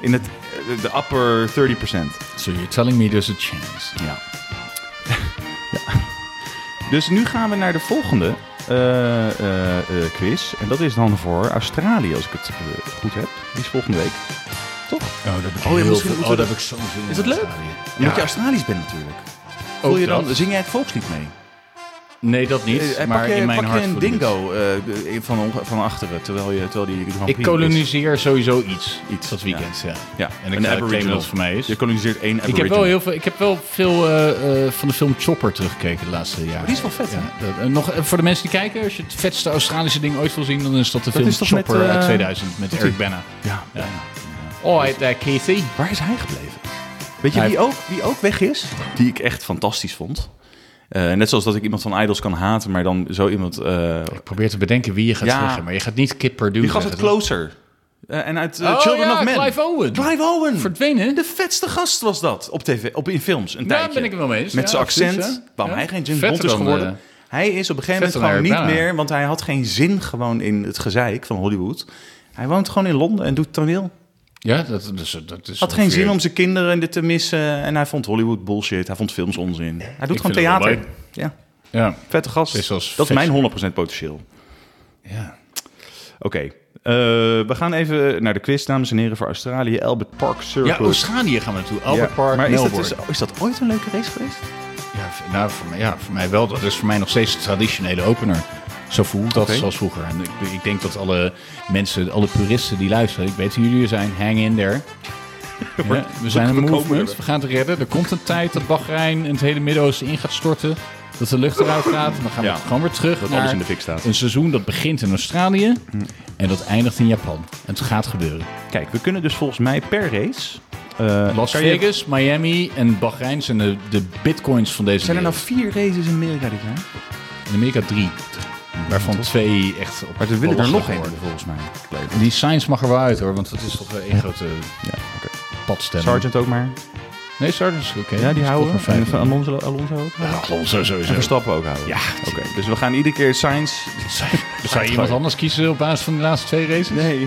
[SPEAKER 4] in het, eh, de upper 30%.
[SPEAKER 3] So you're telling me there's a chance.
[SPEAKER 4] Ja. Dus nu gaan we naar de volgende eh, eh, eh, quiz. En dat is dan voor Australië, als ik het eh, goed heb. Die is volgende week. Toch?
[SPEAKER 3] Oh, dat heb ik
[SPEAKER 4] ja,
[SPEAKER 3] heel
[SPEAKER 4] misschien
[SPEAKER 3] veel.
[SPEAKER 4] moeten
[SPEAKER 3] Oh,
[SPEAKER 4] we
[SPEAKER 3] dat
[SPEAKER 4] dat-
[SPEAKER 3] heb ik zo'n zin in.
[SPEAKER 4] Is dat leuk?
[SPEAKER 3] Australië.
[SPEAKER 4] Omdat
[SPEAKER 3] Ja.
[SPEAKER 4] je Australisch bent natuurlijk.
[SPEAKER 3] Ook
[SPEAKER 4] Voel je dan,
[SPEAKER 3] dat.
[SPEAKER 4] zing jij het volkslied mee?
[SPEAKER 3] Nee, dat niet.
[SPEAKER 4] Eh, eh,
[SPEAKER 3] maar
[SPEAKER 4] pak je,
[SPEAKER 3] in mijn
[SPEAKER 4] pak je
[SPEAKER 3] hart
[SPEAKER 4] een
[SPEAKER 3] voel ik het.
[SPEAKER 4] dingo eh, de- van, onge- van achteren, terwijl, je, terwijl die Grand
[SPEAKER 3] Ik
[SPEAKER 4] Prix is.
[SPEAKER 3] koloniseer sowieso iets. Iets dat weekend, ja.
[SPEAKER 4] Ja,
[SPEAKER 3] En ik
[SPEAKER 4] een
[SPEAKER 3] ga claimen
[SPEAKER 4] aboriginal.
[SPEAKER 3] dat het voor mij is.
[SPEAKER 4] Je koloniseert één
[SPEAKER 3] Ik
[SPEAKER 4] aboriginal.
[SPEAKER 3] heb wel heel veel, ik heb wel veel eh, eh, van de film Chopper teruggekeken de laatste jaren.
[SPEAKER 4] Oh, die is wel vet, hè?
[SPEAKER 3] Ja, dat- en nog, eh, voor de mensen die kijken, als je het vetste Australische ding ooit wil zien, dan is dat de film
[SPEAKER 4] is toch met,
[SPEAKER 3] Chopper
[SPEAKER 4] eh,
[SPEAKER 3] uit 2000 met Eric Bana.
[SPEAKER 4] Ja.
[SPEAKER 3] Ja. Alright, there, Oh, Casey.
[SPEAKER 4] Waar is hij gebleven? Weet je
[SPEAKER 3] Hij-
[SPEAKER 4] wie ook, wie ook weg is? Die ik echt fantastisch vond. Eh, net zoals dat ik iemand van Idols kan haten, maar dan zo iemand... eh,
[SPEAKER 3] Ik probeer te bedenken wie je gaat
[SPEAKER 4] Ja.
[SPEAKER 3] zeggen, maar je gaat niet Kip Perdue
[SPEAKER 4] die gast uit
[SPEAKER 3] zeggen,
[SPEAKER 4] Closer. Eh, en uit eh,
[SPEAKER 3] Oh
[SPEAKER 4] Children
[SPEAKER 3] ja,
[SPEAKER 4] of Men.
[SPEAKER 3] Clive Owen.
[SPEAKER 4] Clive Owen.
[SPEAKER 3] Verdwenen.
[SPEAKER 4] De vetste gast was dat op tv, op, in films een
[SPEAKER 3] Daar
[SPEAKER 4] tijdje.
[SPEAKER 3] ben ik het wel mee eens.
[SPEAKER 4] Met
[SPEAKER 3] Ja,
[SPEAKER 4] zijn
[SPEAKER 3] precies,
[SPEAKER 4] accent.
[SPEAKER 3] hè?
[SPEAKER 4] Waarom
[SPEAKER 3] Ja.
[SPEAKER 4] hij geen James
[SPEAKER 3] Vetter
[SPEAKER 4] Bond is
[SPEAKER 3] dan,
[SPEAKER 4] geworden.
[SPEAKER 3] eh,
[SPEAKER 4] Hij is op een gegeven
[SPEAKER 3] Zet
[SPEAKER 4] moment
[SPEAKER 3] hem
[SPEAKER 4] gewoon
[SPEAKER 3] er
[SPEAKER 4] niet
[SPEAKER 3] bijna.
[SPEAKER 4] meer, want hij had geen zin gewoon in het gezeik van Hollywood. Hij woont gewoon in Londen en doet toneel.
[SPEAKER 3] Ja, dat, dus, dat is
[SPEAKER 4] Had geen
[SPEAKER 3] ongeveer-
[SPEAKER 4] zin om zijn kinderen dit te missen. En hij vond Hollywood bullshit. Hij vond films onzin. Hij doet
[SPEAKER 3] Ik
[SPEAKER 4] gewoon
[SPEAKER 3] vind het wel
[SPEAKER 4] theater.
[SPEAKER 3] leuk.
[SPEAKER 4] Ja,
[SPEAKER 3] Ja.
[SPEAKER 4] vette gast.
[SPEAKER 3] Is als
[SPEAKER 4] dat is
[SPEAKER 3] vet.
[SPEAKER 4] mijn 100% potentieel.
[SPEAKER 3] ja.
[SPEAKER 4] Oké, eh, we gaan even naar de quiz, dames en heren, voor Australië. Albert Park Circle.
[SPEAKER 3] Ja, Australië gaan we naartoe. Albert
[SPEAKER 4] Ja,
[SPEAKER 3] Park,
[SPEAKER 4] Maar is dat,
[SPEAKER 3] Melbourne.
[SPEAKER 4] dus, is dat ooit een leuke race geweest?
[SPEAKER 3] Ja, v- nou, voor mij, ja, voor mij wel. Dat is voor mij nog steeds de traditionele opener. Zo voelt dat
[SPEAKER 4] Oké.
[SPEAKER 3] zoals vroeger. En ik, ik denk dat alle mensen, alle puristen die luisteren, ik weet wie jullie er zijn, hang in
[SPEAKER 4] *laughs*
[SPEAKER 3] there. Ja, we zijn een
[SPEAKER 4] komen
[SPEAKER 3] movement,
[SPEAKER 4] er.
[SPEAKER 3] we gaan het redden. Er komt een tijd dat Bahrein en het hele Midden-Oosten in gaat storten. Dat de lucht eruit gaat. En dan gaan we
[SPEAKER 4] Ja.
[SPEAKER 3] gewoon weer terug naar
[SPEAKER 4] alles in de fik staat. Hm.
[SPEAKER 3] een seizoen dat begint in Australië en dat eindigt in Japan. En het gaat gebeuren.
[SPEAKER 4] Kijk, we kunnen dus volgens mij per race... eh,
[SPEAKER 3] Las
[SPEAKER 4] kan je-
[SPEAKER 3] Vegas, Miami en Bahrein zijn de, de bitcoins van deze
[SPEAKER 4] Zijn er nou
[SPEAKER 3] wereld.
[SPEAKER 4] vier races in Amerika dit jaar?
[SPEAKER 3] In Amerika drie. Waarvan twee echt op
[SPEAKER 4] Maar er willen er nog één
[SPEAKER 3] worden.
[SPEAKER 4] volgens mij.
[SPEAKER 3] Die science mag er wel uit hoor, want dat is toch wel één grote padstelling.
[SPEAKER 4] Sergeant ook maar.
[SPEAKER 3] Nee, Sergeant is oké.
[SPEAKER 4] Ja,
[SPEAKER 3] Dat
[SPEAKER 4] die
[SPEAKER 3] is
[SPEAKER 4] houden
[SPEAKER 3] toch
[SPEAKER 4] we.
[SPEAKER 3] maar
[SPEAKER 4] En
[SPEAKER 3] vijf.
[SPEAKER 4] van Alonso, Alonso ook.
[SPEAKER 3] Ja, Alonso sowieso.
[SPEAKER 4] En Verstappen ook houden.
[SPEAKER 3] Ja,
[SPEAKER 4] Oké, dus we gaan iedere keer Science...
[SPEAKER 3] Zou je iemand anders kiezen op basis van de laatste twee races?
[SPEAKER 4] Nee.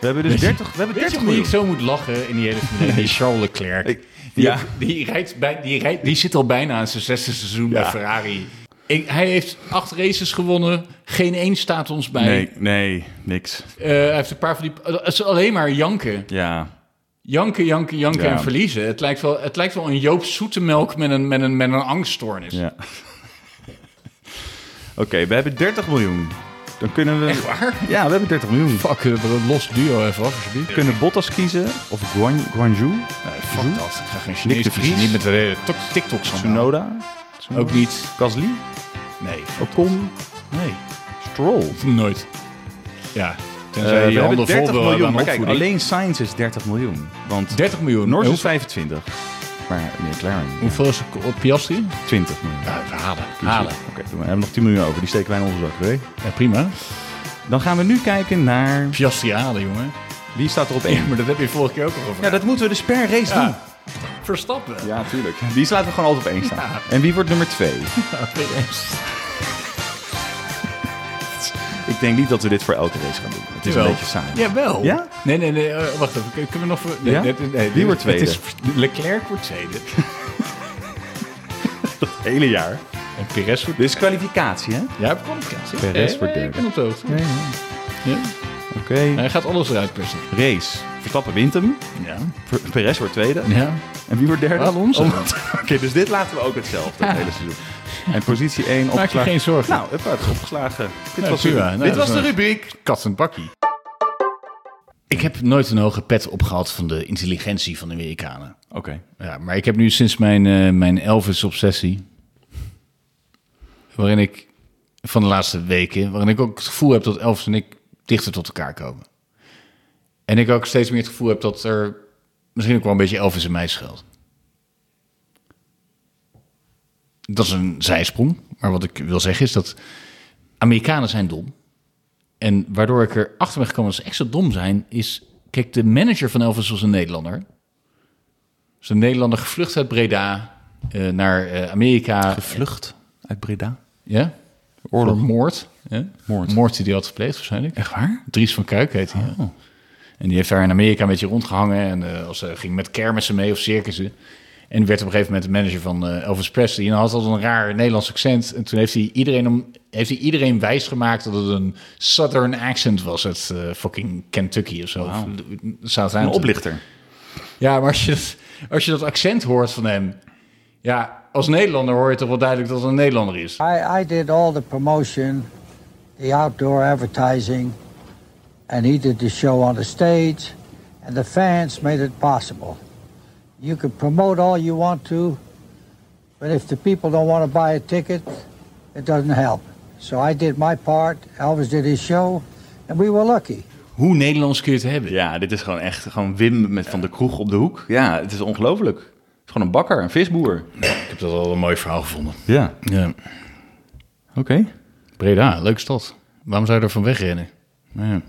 [SPEAKER 4] We hebben dus 30, we hebben
[SPEAKER 3] Weet je
[SPEAKER 4] 30
[SPEAKER 3] hoe ik
[SPEAKER 4] miljoen.
[SPEAKER 3] zo moet lachen in die hele familie? Die Charles Leclerc.
[SPEAKER 4] Ik-
[SPEAKER 3] die,
[SPEAKER 4] ja.
[SPEAKER 3] die, rijdt bij, die, rijdt, die zit al bijna aan zijn zesde seizoen
[SPEAKER 4] Ja.
[SPEAKER 3] bij Ferrari. Ik- hij heeft acht races gewonnen. Geen één staat ons bij.
[SPEAKER 4] Nee, nee, niks.
[SPEAKER 3] Eh, hij heeft een paar van die... Het is alleen maar janken.
[SPEAKER 4] Ja.
[SPEAKER 3] Janken, janken, janken
[SPEAKER 4] Ja.
[SPEAKER 3] en verliezen. Het lijkt wel, het lijkt wel een Joop Zoetemelk met een, met een, met een angststoornis.
[SPEAKER 4] *laughs* ja. Oké, we hebben 30 miljoen. Dan kunnen we...
[SPEAKER 3] Echt waar?
[SPEAKER 4] Ja, we hebben 30 miljoen. We
[SPEAKER 3] Fuck, een los duo even af, alsjeblieft.
[SPEAKER 4] kunnen Bottas kiezen of Guan, Guanju,
[SPEAKER 3] Nee, fuck dat. Ik ga geen
[SPEAKER 4] Nick
[SPEAKER 3] Chinees
[SPEAKER 4] de
[SPEAKER 3] kiezen.
[SPEAKER 4] Vries.
[SPEAKER 3] Niet met de hele tok- TikTok schandaal.
[SPEAKER 4] Tsunoda,
[SPEAKER 3] Ook niet.
[SPEAKER 4] Gasly,
[SPEAKER 3] Nee.
[SPEAKER 4] Ocon,
[SPEAKER 3] Nee.
[SPEAKER 4] Stroll.
[SPEAKER 3] Nooit. Ja.
[SPEAKER 4] Eh,
[SPEAKER 3] Tenzij
[SPEAKER 4] we
[SPEAKER 3] je
[SPEAKER 4] hebben
[SPEAKER 3] Eh, handen vol
[SPEAKER 4] 30
[SPEAKER 3] wil hebben
[SPEAKER 4] miljoen.
[SPEAKER 3] aan
[SPEAKER 4] Maar kijk,
[SPEAKER 3] opvoeding.
[SPEAKER 4] alleen Science is 30 miljoen. Want
[SPEAKER 3] 30 miljoen.
[SPEAKER 4] Norris
[SPEAKER 3] Hoe-
[SPEAKER 4] is 25. Maar nee, Claren.
[SPEAKER 3] Hoeveel is er op Piastri?
[SPEAKER 4] 20 miljoen.
[SPEAKER 3] Ja, halen. Halen.
[SPEAKER 4] Oké, doen we. we hebben nog 10 miljoen over. Die steken wij in onze zak, oké?
[SPEAKER 3] Ja, prima.
[SPEAKER 4] Dan gaan we nu kijken naar...
[SPEAKER 3] Piastri halen, jongen.
[SPEAKER 4] Wie staat er op
[SPEAKER 3] Ja,
[SPEAKER 4] 1?
[SPEAKER 3] maar dat heb je vorige keer ook al over.
[SPEAKER 4] Ja, dat moeten we dus per race doen.
[SPEAKER 3] Verstappen.
[SPEAKER 4] Ja, tuurlijk. Die laten we gewoon altijd op één staan. En wie wordt nummer 2? Ik denk niet dat we dit voor elke race gaan doen. Het is een beetje saai.
[SPEAKER 3] Jawel.
[SPEAKER 4] Ja?
[SPEAKER 3] Nee, nee, nee. eh, wacht even. Kun- Kunnen we nog... voor- Nee,
[SPEAKER 4] Ja?
[SPEAKER 3] nee, nee, nee,
[SPEAKER 4] Wie
[SPEAKER 3] dit-
[SPEAKER 4] wordt
[SPEAKER 3] dit
[SPEAKER 4] tweede?
[SPEAKER 3] is- *laughs* Leclerc wordt tweede.
[SPEAKER 4] Het hele jaar.
[SPEAKER 3] en Perez wordt...
[SPEAKER 4] Dit is kwalificatie, hè?
[SPEAKER 3] Ja, heb ik communicatie.
[SPEAKER 4] Perez
[SPEAKER 3] Eh,
[SPEAKER 4] wordt derde.
[SPEAKER 3] Ik ben op de hoogte. Ja?
[SPEAKER 4] Oké.
[SPEAKER 3] Hij gaat alles eruit persen.
[SPEAKER 4] Race. Verstappen wint hem.
[SPEAKER 3] Ja.
[SPEAKER 4] Per- Perez wordt tweede.
[SPEAKER 3] Ja.
[SPEAKER 4] En wie wordt derde?
[SPEAKER 3] Alonso.
[SPEAKER 4] Oh, Oké, dus dit laten we ook hetzelfde het hele seizoen. En positie 1 opgeslagen.
[SPEAKER 3] geen zorgen.
[SPEAKER 4] Nou, huppa, het is opgeslagen. Dit was,
[SPEAKER 3] prima.
[SPEAKER 4] dit
[SPEAKER 3] Nou, dat
[SPEAKER 4] was
[SPEAKER 3] is
[SPEAKER 4] de
[SPEAKER 3] een-
[SPEAKER 4] rubriek.
[SPEAKER 3] Kat en bakkie. Ik heb nooit een hoge pet opgehad van de intelligentie van de Amerikanen.
[SPEAKER 4] Oké.
[SPEAKER 3] Ja, maar ik heb nu sinds mijn, eh, mijn Elvis-obsessie, waarin ik van de laatste weken, waarin ik ook het gevoel heb dat Elvis en ik dichter tot elkaar komen. En ik ook steeds meer het gevoel heb dat er misschien ook wel een beetje Elvis in mij schuilt. Dat is een zijsprong, maar wat ik wil zeggen is dat Amerikanen zijn dom. En waardoor ik erachter ben gekomen dat ze extra dom zijn, is... Kijk, de manager van Elvis was een Nederlander is een Nederlander gevlucht uit Breda eh, naar eh, Amerika.
[SPEAKER 4] Gevlucht uit Breda.
[SPEAKER 3] ja? Oorlog. moord. Ja?
[SPEAKER 4] Moord.
[SPEAKER 3] die hij had gepleegd waarschijnlijk. Echt waar? Oh. Dries van Kuik heet hij. ja. En die heeft daar in Amerika een beetje rondgehangen. En eh, als, eh, ging met kermissen mee of circussen. En werd op een gegeven moment de manager van eh, Elvis Presley. En hij had altijd een raar Nederlands accent. En toen heeft hij iedereen, om, heeft hij iedereen wijsgemaakt dat het een Southern accent was. Uit eh, fucking Kentucky of zo. Of,
[SPEAKER 4] Een
[SPEAKER 3] Southampton.
[SPEAKER 4] oplichter.
[SPEAKER 3] Ja, maar als je, dat, als je dat accent hoort van hem... Ja, als Nederlander hoor je toch wel duidelijk dat het een Nederlander is.
[SPEAKER 8] I, I did all the promotion, the outdoor advertising, and he did the show on the stage, and the fans made it possible. You can promote all you want to, but if the people don't want to buy a ticket, it doesn't help. So I did my part, Elvis did his show, and we were lucky.
[SPEAKER 3] Hoe Nederlands kun je het hebben?
[SPEAKER 4] Ja, dit is gewoon echt gewoon Wim met van de kroeg op de hoek. Ja, het is ongelooflijk. Het is gewoon een bakker, een visboer.
[SPEAKER 3] Ik heb dat al een mooi verhaal gevonden.
[SPEAKER 4] Ja.
[SPEAKER 3] Ja.
[SPEAKER 4] Oké.
[SPEAKER 3] Breda, leuke stad. Waarom zou je er van wegrennen? Ja.
[SPEAKER 4] Nou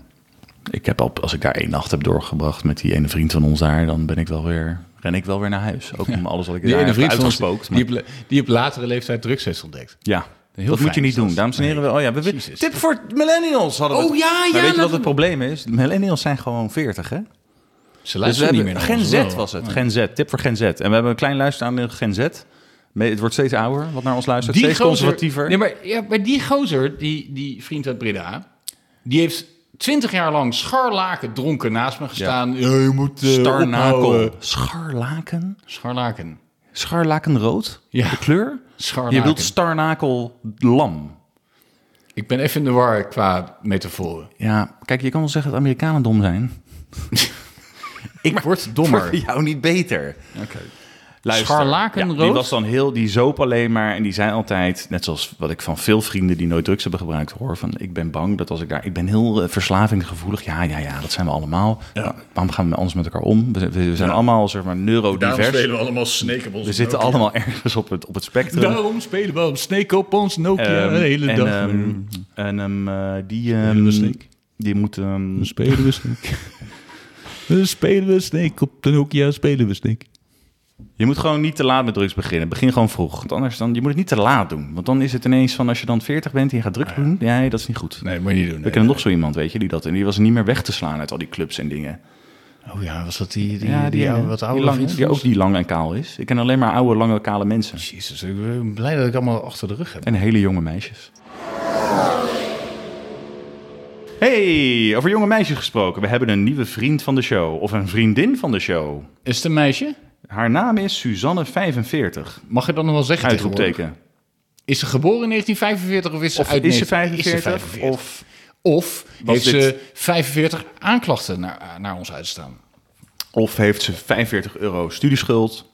[SPEAKER 4] Ik heb al, als ik daar één nacht heb doorgebracht met die ene vriend van ons daar, dan ben ik wel weer, ren ik wel weer naar huis. Ook om alles wat ik
[SPEAKER 3] Die
[SPEAKER 4] daar
[SPEAKER 3] ene
[SPEAKER 4] heb
[SPEAKER 3] vriend van ons,
[SPEAKER 4] uitgespookt.
[SPEAKER 3] die,
[SPEAKER 4] maar-
[SPEAKER 3] op, die op latere leeftijd drugs heeft ontdekt.
[SPEAKER 4] Ja. dat moet je
[SPEAKER 3] fijn
[SPEAKER 4] niet
[SPEAKER 3] is dat.
[SPEAKER 4] doen, dames en heren. We- Oh ja, we, we-
[SPEAKER 3] Jezus.
[SPEAKER 4] tip voor millennials hadden we.
[SPEAKER 6] Oh
[SPEAKER 4] het.
[SPEAKER 6] ja,
[SPEAKER 4] Maar
[SPEAKER 6] ja,
[SPEAKER 4] weet je wat
[SPEAKER 6] dat-
[SPEAKER 4] het probleem is? Millennials zijn gewoon 40, hè?
[SPEAKER 3] Ze
[SPEAKER 4] Dus we
[SPEAKER 3] luisteren
[SPEAKER 4] hebben
[SPEAKER 3] niet meer naar
[SPEAKER 4] Gen
[SPEAKER 3] ons,
[SPEAKER 4] Z
[SPEAKER 3] wel.
[SPEAKER 4] was het.
[SPEAKER 3] Ja.
[SPEAKER 4] Gen Z. Tip voor Gen Z. En we hebben een klein luisteraandeel Gen Z. Me- Het wordt steeds ouder, wat naar ons luistert. steeds
[SPEAKER 3] gozer-
[SPEAKER 4] conservatiever.
[SPEAKER 3] Nee, maar, ja, maar die gozer, die, die vriend uit Breda, die heeft twintig jaar lang scharlaken dronken naast me gestaan. Ja, je moet eh,
[SPEAKER 4] Starnakel.
[SPEAKER 3] ophouden.
[SPEAKER 4] Scharlaken?
[SPEAKER 3] Scharlaken.
[SPEAKER 4] Scharlakenrood?
[SPEAKER 3] Ja.
[SPEAKER 4] De kleur?
[SPEAKER 3] Scharlaken.
[SPEAKER 4] Je bedoelt starnakel lam.
[SPEAKER 3] Ik ben even in de war qua metaforen.
[SPEAKER 4] Ja, kijk, je kan wel zeggen dat Amerikanen dom zijn.
[SPEAKER 3] Ik word dommer.
[SPEAKER 4] jou niet beter. Luister,
[SPEAKER 3] Scharlakenrood?
[SPEAKER 4] Ja, die was dan heel, die zoop alleen maar. En die zei altijd, net zoals wat ik van veel vrienden die nooit drugs hebben gebruikt hoor. Van ik ben bang dat als ik daar, ik ben heel eh, verslavingsgevoelig. Ja, ja, ja, dat zijn we allemaal. Nou, waarom gaan we anders met elkaar om? We, we- we zijn allemaal, zeg maar,
[SPEAKER 3] Daarom
[SPEAKER 4] neurodivers.
[SPEAKER 3] spelen we allemaal Snake op ons
[SPEAKER 4] We zitten
[SPEAKER 3] Nokia.
[SPEAKER 4] allemaal ergens op het, op het spectrum.
[SPEAKER 3] Daarom spelen we al Snake op ons Nokia
[SPEAKER 4] Ehm,
[SPEAKER 3] de hele
[SPEAKER 4] en,
[SPEAKER 3] dag.
[SPEAKER 4] ehm, en ehm, eh, die, ehm,
[SPEAKER 3] Hele snik.
[SPEAKER 4] die moet... ehm,
[SPEAKER 3] spelen we Snake. *laughs* We spelen we Snake op de Nokia, spelen we Snake.
[SPEAKER 4] Je moet gewoon niet te laat met drugs beginnen. Begin gewoon vroeg. Want anders dan, je moet het niet te laat doen. Want dan is het ineens van als je dan 40 bent en je gaat drugs doen. Nee, dat is niet goed.
[SPEAKER 3] Ah, Nee, moet je niet doen.
[SPEAKER 4] We kennen nog zo iemand, weet je, die dat. En die was niet meer weg te slaan uit al die clubs en dingen.
[SPEAKER 3] Oh ja, was dat die, die,
[SPEAKER 4] ja,
[SPEAKER 3] die, oude,
[SPEAKER 4] eh,
[SPEAKER 3] wat
[SPEAKER 4] die,
[SPEAKER 3] oude
[SPEAKER 4] lang, die ook die lang en kaal is. Ik ken alleen maar oude, lange, kale mensen.
[SPEAKER 3] Jezus, ik ben blij dat ik allemaal achter de rug heb.
[SPEAKER 4] En hele jonge meisjes. Hey, over jonge meisjes gesproken. We hebben een nieuwe vriend van de show. Of een vriendin van de show.
[SPEAKER 3] Is het een meisje?
[SPEAKER 4] Haar naam is Suzanne45.
[SPEAKER 3] Mag je dan nog wel zeggen tegenwoordig?
[SPEAKER 4] Uitroepteken.
[SPEAKER 3] Is ze geboren in 1945 of is ze
[SPEAKER 4] Of
[SPEAKER 3] uit
[SPEAKER 4] is ze
[SPEAKER 3] 1945?
[SPEAKER 4] 45?
[SPEAKER 3] Is ze 45?
[SPEAKER 4] Of
[SPEAKER 3] Of
[SPEAKER 4] Was
[SPEAKER 3] heeft
[SPEAKER 4] dit-
[SPEAKER 3] ze 45 aanklachten naar, naar ons uitstaan?
[SPEAKER 4] Of heeft ze 45 euro studieschuld?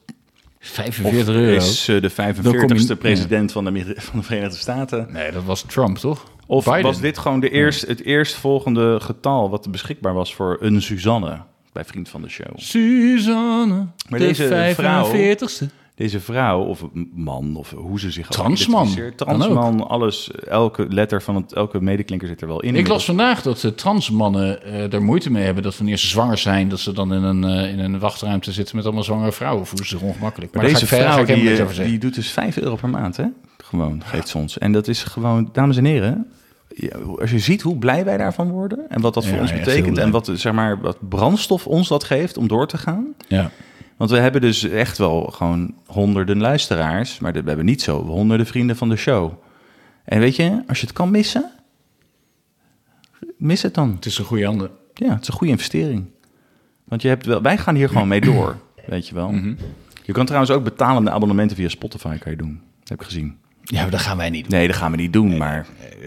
[SPEAKER 3] 45
[SPEAKER 4] of
[SPEAKER 3] euro?
[SPEAKER 4] is ze de
[SPEAKER 3] Dan kom
[SPEAKER 4] 45ste
[SPEAKER 3] je-
[SPEAKER 4] president van, de, Ameri- *laughs* van de Verenigde Staten?
[SPEAKER 3] Nee, dat was Trump, toch?
[SPEAKER 4] Of
[SPEAKER 3] Biden.
[SPEAKER 4] was dit gewoon de eerst, het eerstvolgende getal wat beschikbaar was voor een Suzanne bij Vriend van de Show?
[SPEAKER 6] Suzanne,
[SPEAKER 4] Maar
[SPEAKER 6] de
[SPEAKER 4] deze vrouw-
[SPEAKER 6] 45ste.
[SPEAKER 4] Deze vrouw, of man, of hoe ze zich ook
[SPEAKER 3] Transman.
[SPEAKER 4] identificeert.
[SPEAKER 3] Kan ook.
[SPEAKER 4] Transman, alles, elke letter van het, elke medeklinker zit er wel in.
[SPEAKER 3] Ik las vandaag dat de transmannen eh er moeite mee hebben dat wanneer ze zwanger zijn, dat ze dan in een, eh, in een wachtruimte zitten met allemaal zwangere vrouwen. Voelen ze zich ongemakkelijk.
[SPEAKER 4] Maar
[SPEAKER 3] daar
[SPEAKER 4] deze
[SPEAKER 3] ga ik verder-
[SPEAKER 4] vrouw
[SPEAKER 3] ga ik helemaal
[SPEAKER 4] die,
[SPEAKER 3] niks
[SPEAKER 4] eh,
[SPEAKER 3] over zeggen.
[SPEAKER 4] die doet dus 5 euro per maand, hè? Gewoon, geeft ze ons. En dat is gewoon, dames en heren, ja, hoe- als je ziet hoe blij wij daarvan worden en wat dat voor
[SPEAKER 3] Ja,
[SPEAKER 4] ons
[SPEAKER 3] echt heel
[SPEAKER 4] betekent
[SPEAKER 3] blij.
[SPEAKER 4] en wat, zeg maar, wat brandstof ons dat geeft om door te gaan.
[SPEAKER 3] Ja.
[SPEAKER 4] Want we hebben dus echt wel gewoon honderden luisteraars, maar dat- we hebben niet zo honderden vrienden van de show. En weet je, als je het kan missen, mis het dan.
[SPEAKER 3] Het is een goede handen.
[SPEAKER 4] Ja, het is een goede investering. Want je hebt wel, wij gaan hier gewoon mee door, weet je wel.
[SPEAKER 3] Mhm.
[SPEAKER 4] Je kan trouwens ook betalende abonnementen via Spotify kan je doen. Heb ik gezien.
[SPEAKER 3] Ja, maar dat gaan wij niet doen.
[SPEAKER 4] Nee, dat gaan we niet doen, maar...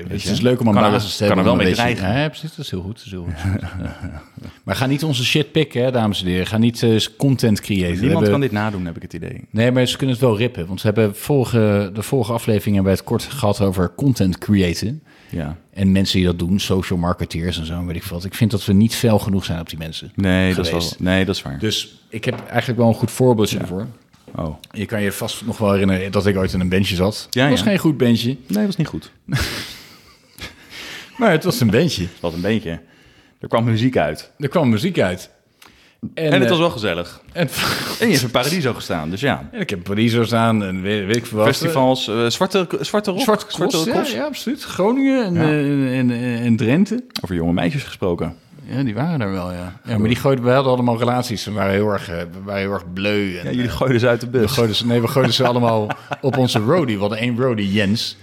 [SPEAKER 3] het is leuk om een
[SPEAKER 4] Kan er-
[SPEAKER 3] basis te hebben.
[SPEAKER 4] kan er wel
[SPEAKER 3] om een
[SPEAKER 4] mee
[SPEAKER 3] beetje-
[SPEAKER 4] dreigen.
[SPEAKER 3] Ja, precies. Dat is heel goed. Dat is
[SPEAKER 4] *laughs*
[SPEAKER 3] heel goed. maar ga niet onze shit pikken, hè, dames en heren. Ga niet eh, content creëren. We
[SPEAKER 4] Niemand
[SPEAKER 3] hebben-
[SPEAKER 4] kan dit nadoen, heb ik het idee.
[SPEAKER 3] Nee, maar ze kunnen het wel rippen. Want we hebben vorige, de vorige aflevering hebben we het kort gehad over content creëren.
[SPEAKER 4] Ja.
[SPEAKER 3] En mensen die dat doen, social marketeers en zo, en weet ik veel wat. Ik vind dat we niet fel genoeg zijn op die mensen.
[SPEAKER 4] Nee, dat is,
[SPEAKER 3] geweest.
[SPEAKER 4] wel, nee dat is waar.
[SPEAKER 3] Dus ik heb eigenlijk wel een goed voorbeeld ervoor.
[SPEAKER 4] Oh.
[SPEAKER 3] Je kan je vast nog wel herinneren dat ik ooit in een bandje zat.
[SPEAKER 4] Ja,
[SPEAKER 3] Het was
[SPEAKER 4] ja.
[SPEAKER 3] geen goed bandje,
[SPEAKER 4] Nee, dat is niet goed.
[SPEAKER 3] maar het was een bandje.
[SPEAKER 4] Wat een beetje. Er kwam muziek uit.
[SPEAKER 3] Er kwam muziek uit.
[SPEAKER 4] En het
[SPEAKER 3] eh,
[SPEAKER 4] was wel gezellig.
[SPEAKER 3] En, *laughs*
[SPEAKER 4] En je hebt in Paradiso gestaan, dus ja.
[SPEAKER 3] en ik heb Paradiso's aan en weet, weet ik veel wat.
[SPEAKER 4] Festivals, eh, zwarte, zwarte Rok.
[SPEAKER 3] Zwarte Cross, ja,
[SPEAKER 4] Cross.
[SPEAKER 3] ja, absoluut. Groningen en, eh, en, en, en Drenthe.
[SPEAKER 4] Over jonge meisjes gesproken.
[SPEAKER 3] Ja, die waren er wel, ja. ja maar die gooiden, we hadden allemaal relaties. We waren heel erg, eh, we waren heel erg bleu. En, dus
[SPEAKER 4] Ja, jullie gooiden ze uit de
[SPEAKER 3] we
[SPEAKER 4] bus.
[SPEAKER 3] gooiden ze, nee, we gooiden ze
[SPEAKER 4] *laughs*
[SPEAKER 3] allemaal op onze roadie. We hadden één roadie, Jens.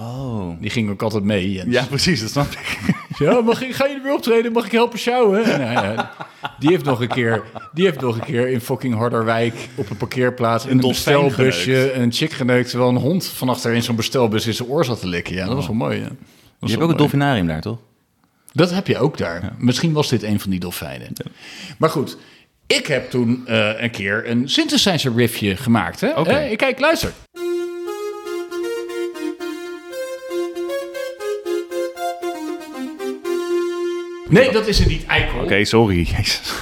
[SPEAKER 4] Oh.
[SPEAKER 3] Die ging ook altijd mee, Jens.
[SPEAKER 4] Ja, precies, dat snap ik.
[SPEAKER 3] Ja, mag ik, ga je er weer optreden? Mag ik helpen sjouwen? En, nou ja, die, heeft nog een keer, die heeft nog een keer in fucking Harderwijk op een parkeerplaats... in een,
[SPEAKER 4] dolfijn
[SPEAKER 3] bestelbusje een chick geneukt... terwijl een hond van achter in zo'n bestelbus in zijn oor zat te likken. Ja, dat was wel mooi, ja. Dat was wel
[SPEAKER 4] Oh. Je hebt ook
[SPEAKER 3] mooi.
[SPEAKER 4] het dolfinarium daar, toch?
[SPEAKER 3] Dat heb je ook daar. Misschien was dit een van die dolfijnen. Maar goed, ik heb toen eh, een keer een synthesizer riffje gemaakt. Hè?
[SPEAKER 4] Oké.
[SPEAKER 3] Eh, kijk, luister. Nee, dat is het niet, eikel.
[SPEAKER 4] Oké, sorry. Jezus.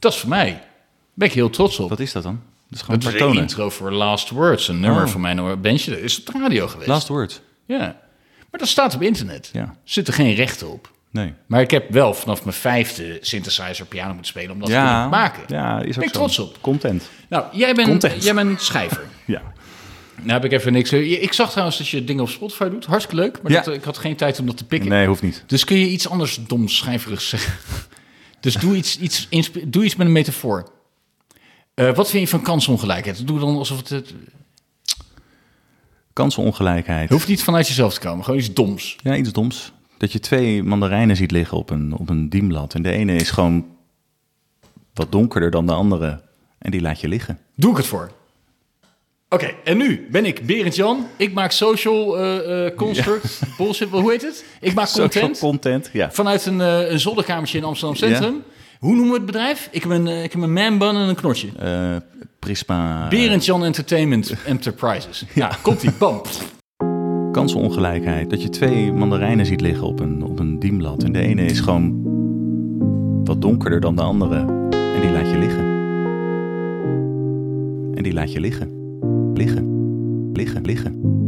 [SPEAKER 3] Dat is voor mij. Daar ben ik heel trots op.
[SPEAKER 4] Wat is dat dan? Dat is gewoon
[SPEAKER 3] Dat is de
[SPEAKER 4] Partone.
[SPEAKER 3] intro voor Last Words, een nummer
[SPEAKER 4] Oh.
[SPEAKER 3] van mijn eh, bandje. Dat is op de radio geweest.
[SPEAKER 4] Last word.
[SPEAKER 3] Ja. Maar dat staat op internet.
[SPEAKER 4] Ja.
[SPEAKER 3] Zit er geen rechten op.
[SPEAKER 4] Nee.
[SPEAKER 3] Maar ik heb wel vanaf mijn vijfde synthesizer piano moeten spelen om dat te kunnen maken.
[SPEAKER 4] Ja, is ook
[SPEAKER 3] ben ik
[SPEAKER 4] zo.
[SPEAKER 3] trots op.
[SPEAKER 4] Content.
[SPEAKER 3] Nou, jij bent,
[SPEAKER 4] Content.
[SPEAKER 3] jij bent
[SPEAKER 4] *laughs*
[SPEAKER 3] schrijver.
[SPEAKER 4] Ja.
[SPEAKER 3] nou heb ik even niks. Ik zag trouwens dat je dingen op Spotify doet. Hartstikke leuk. Maar
[SPEAKER 4] Ja.
[SPEAKER 3] dat, eh, ik had geen tijd om dat te pikken.
[SPEAKER 4] Nee, hoeft niet.
[SPEAKER 3] Dus kun je iets anders doms schrijverigs zeggen? *laughs* Dus doe iets, iets, insp- doe iets met een metafoor. Eh, wat vind je van kansongelijkheid? Doe dan alsof het, het...
[SPEAKER 4] Kansenongelijkheid.
[SPEAKER 3] hoeft niet vanuit jezelf te komen. Gewoon iets doms.
[SPEAKER 4] Ja, iets doms. Dat je twee mandarijnen ziet liggen op een, op een dienblad. En de ene is gewoon wat donkerder dan de andere. En die laat je liggen.
[SPEAKER 3] Doe ik het voor. Oké, en nu ben ik Berend Jan. Ik maak social eh, eh, construct, bullshit, hoe heet het? Ik maak content
[SPEAKER 4] Social content, ja.
[SPEAKER 3] vanuit een, eh, een zolderkamertje in Amsterdam Centrum. Hoe noemen we het bedrijf? Ik heb een, eh, ik heb een man-bun en een knotje.
[SPEAKER 4] Eh, prisma.
[SPEAKER 3] Berend Jan Entertainment Enterprises. Ja, komt die, bam.
[SPEAKER 4] Kansenongelijkheid. Dat je twee mandarijnen ziet liggen op een, op een dienblad. En de ene is gewoon wat donkerder dan de andere. En die laat je liggen. En die laat je liggen. Liggen. Liggen. Liggen.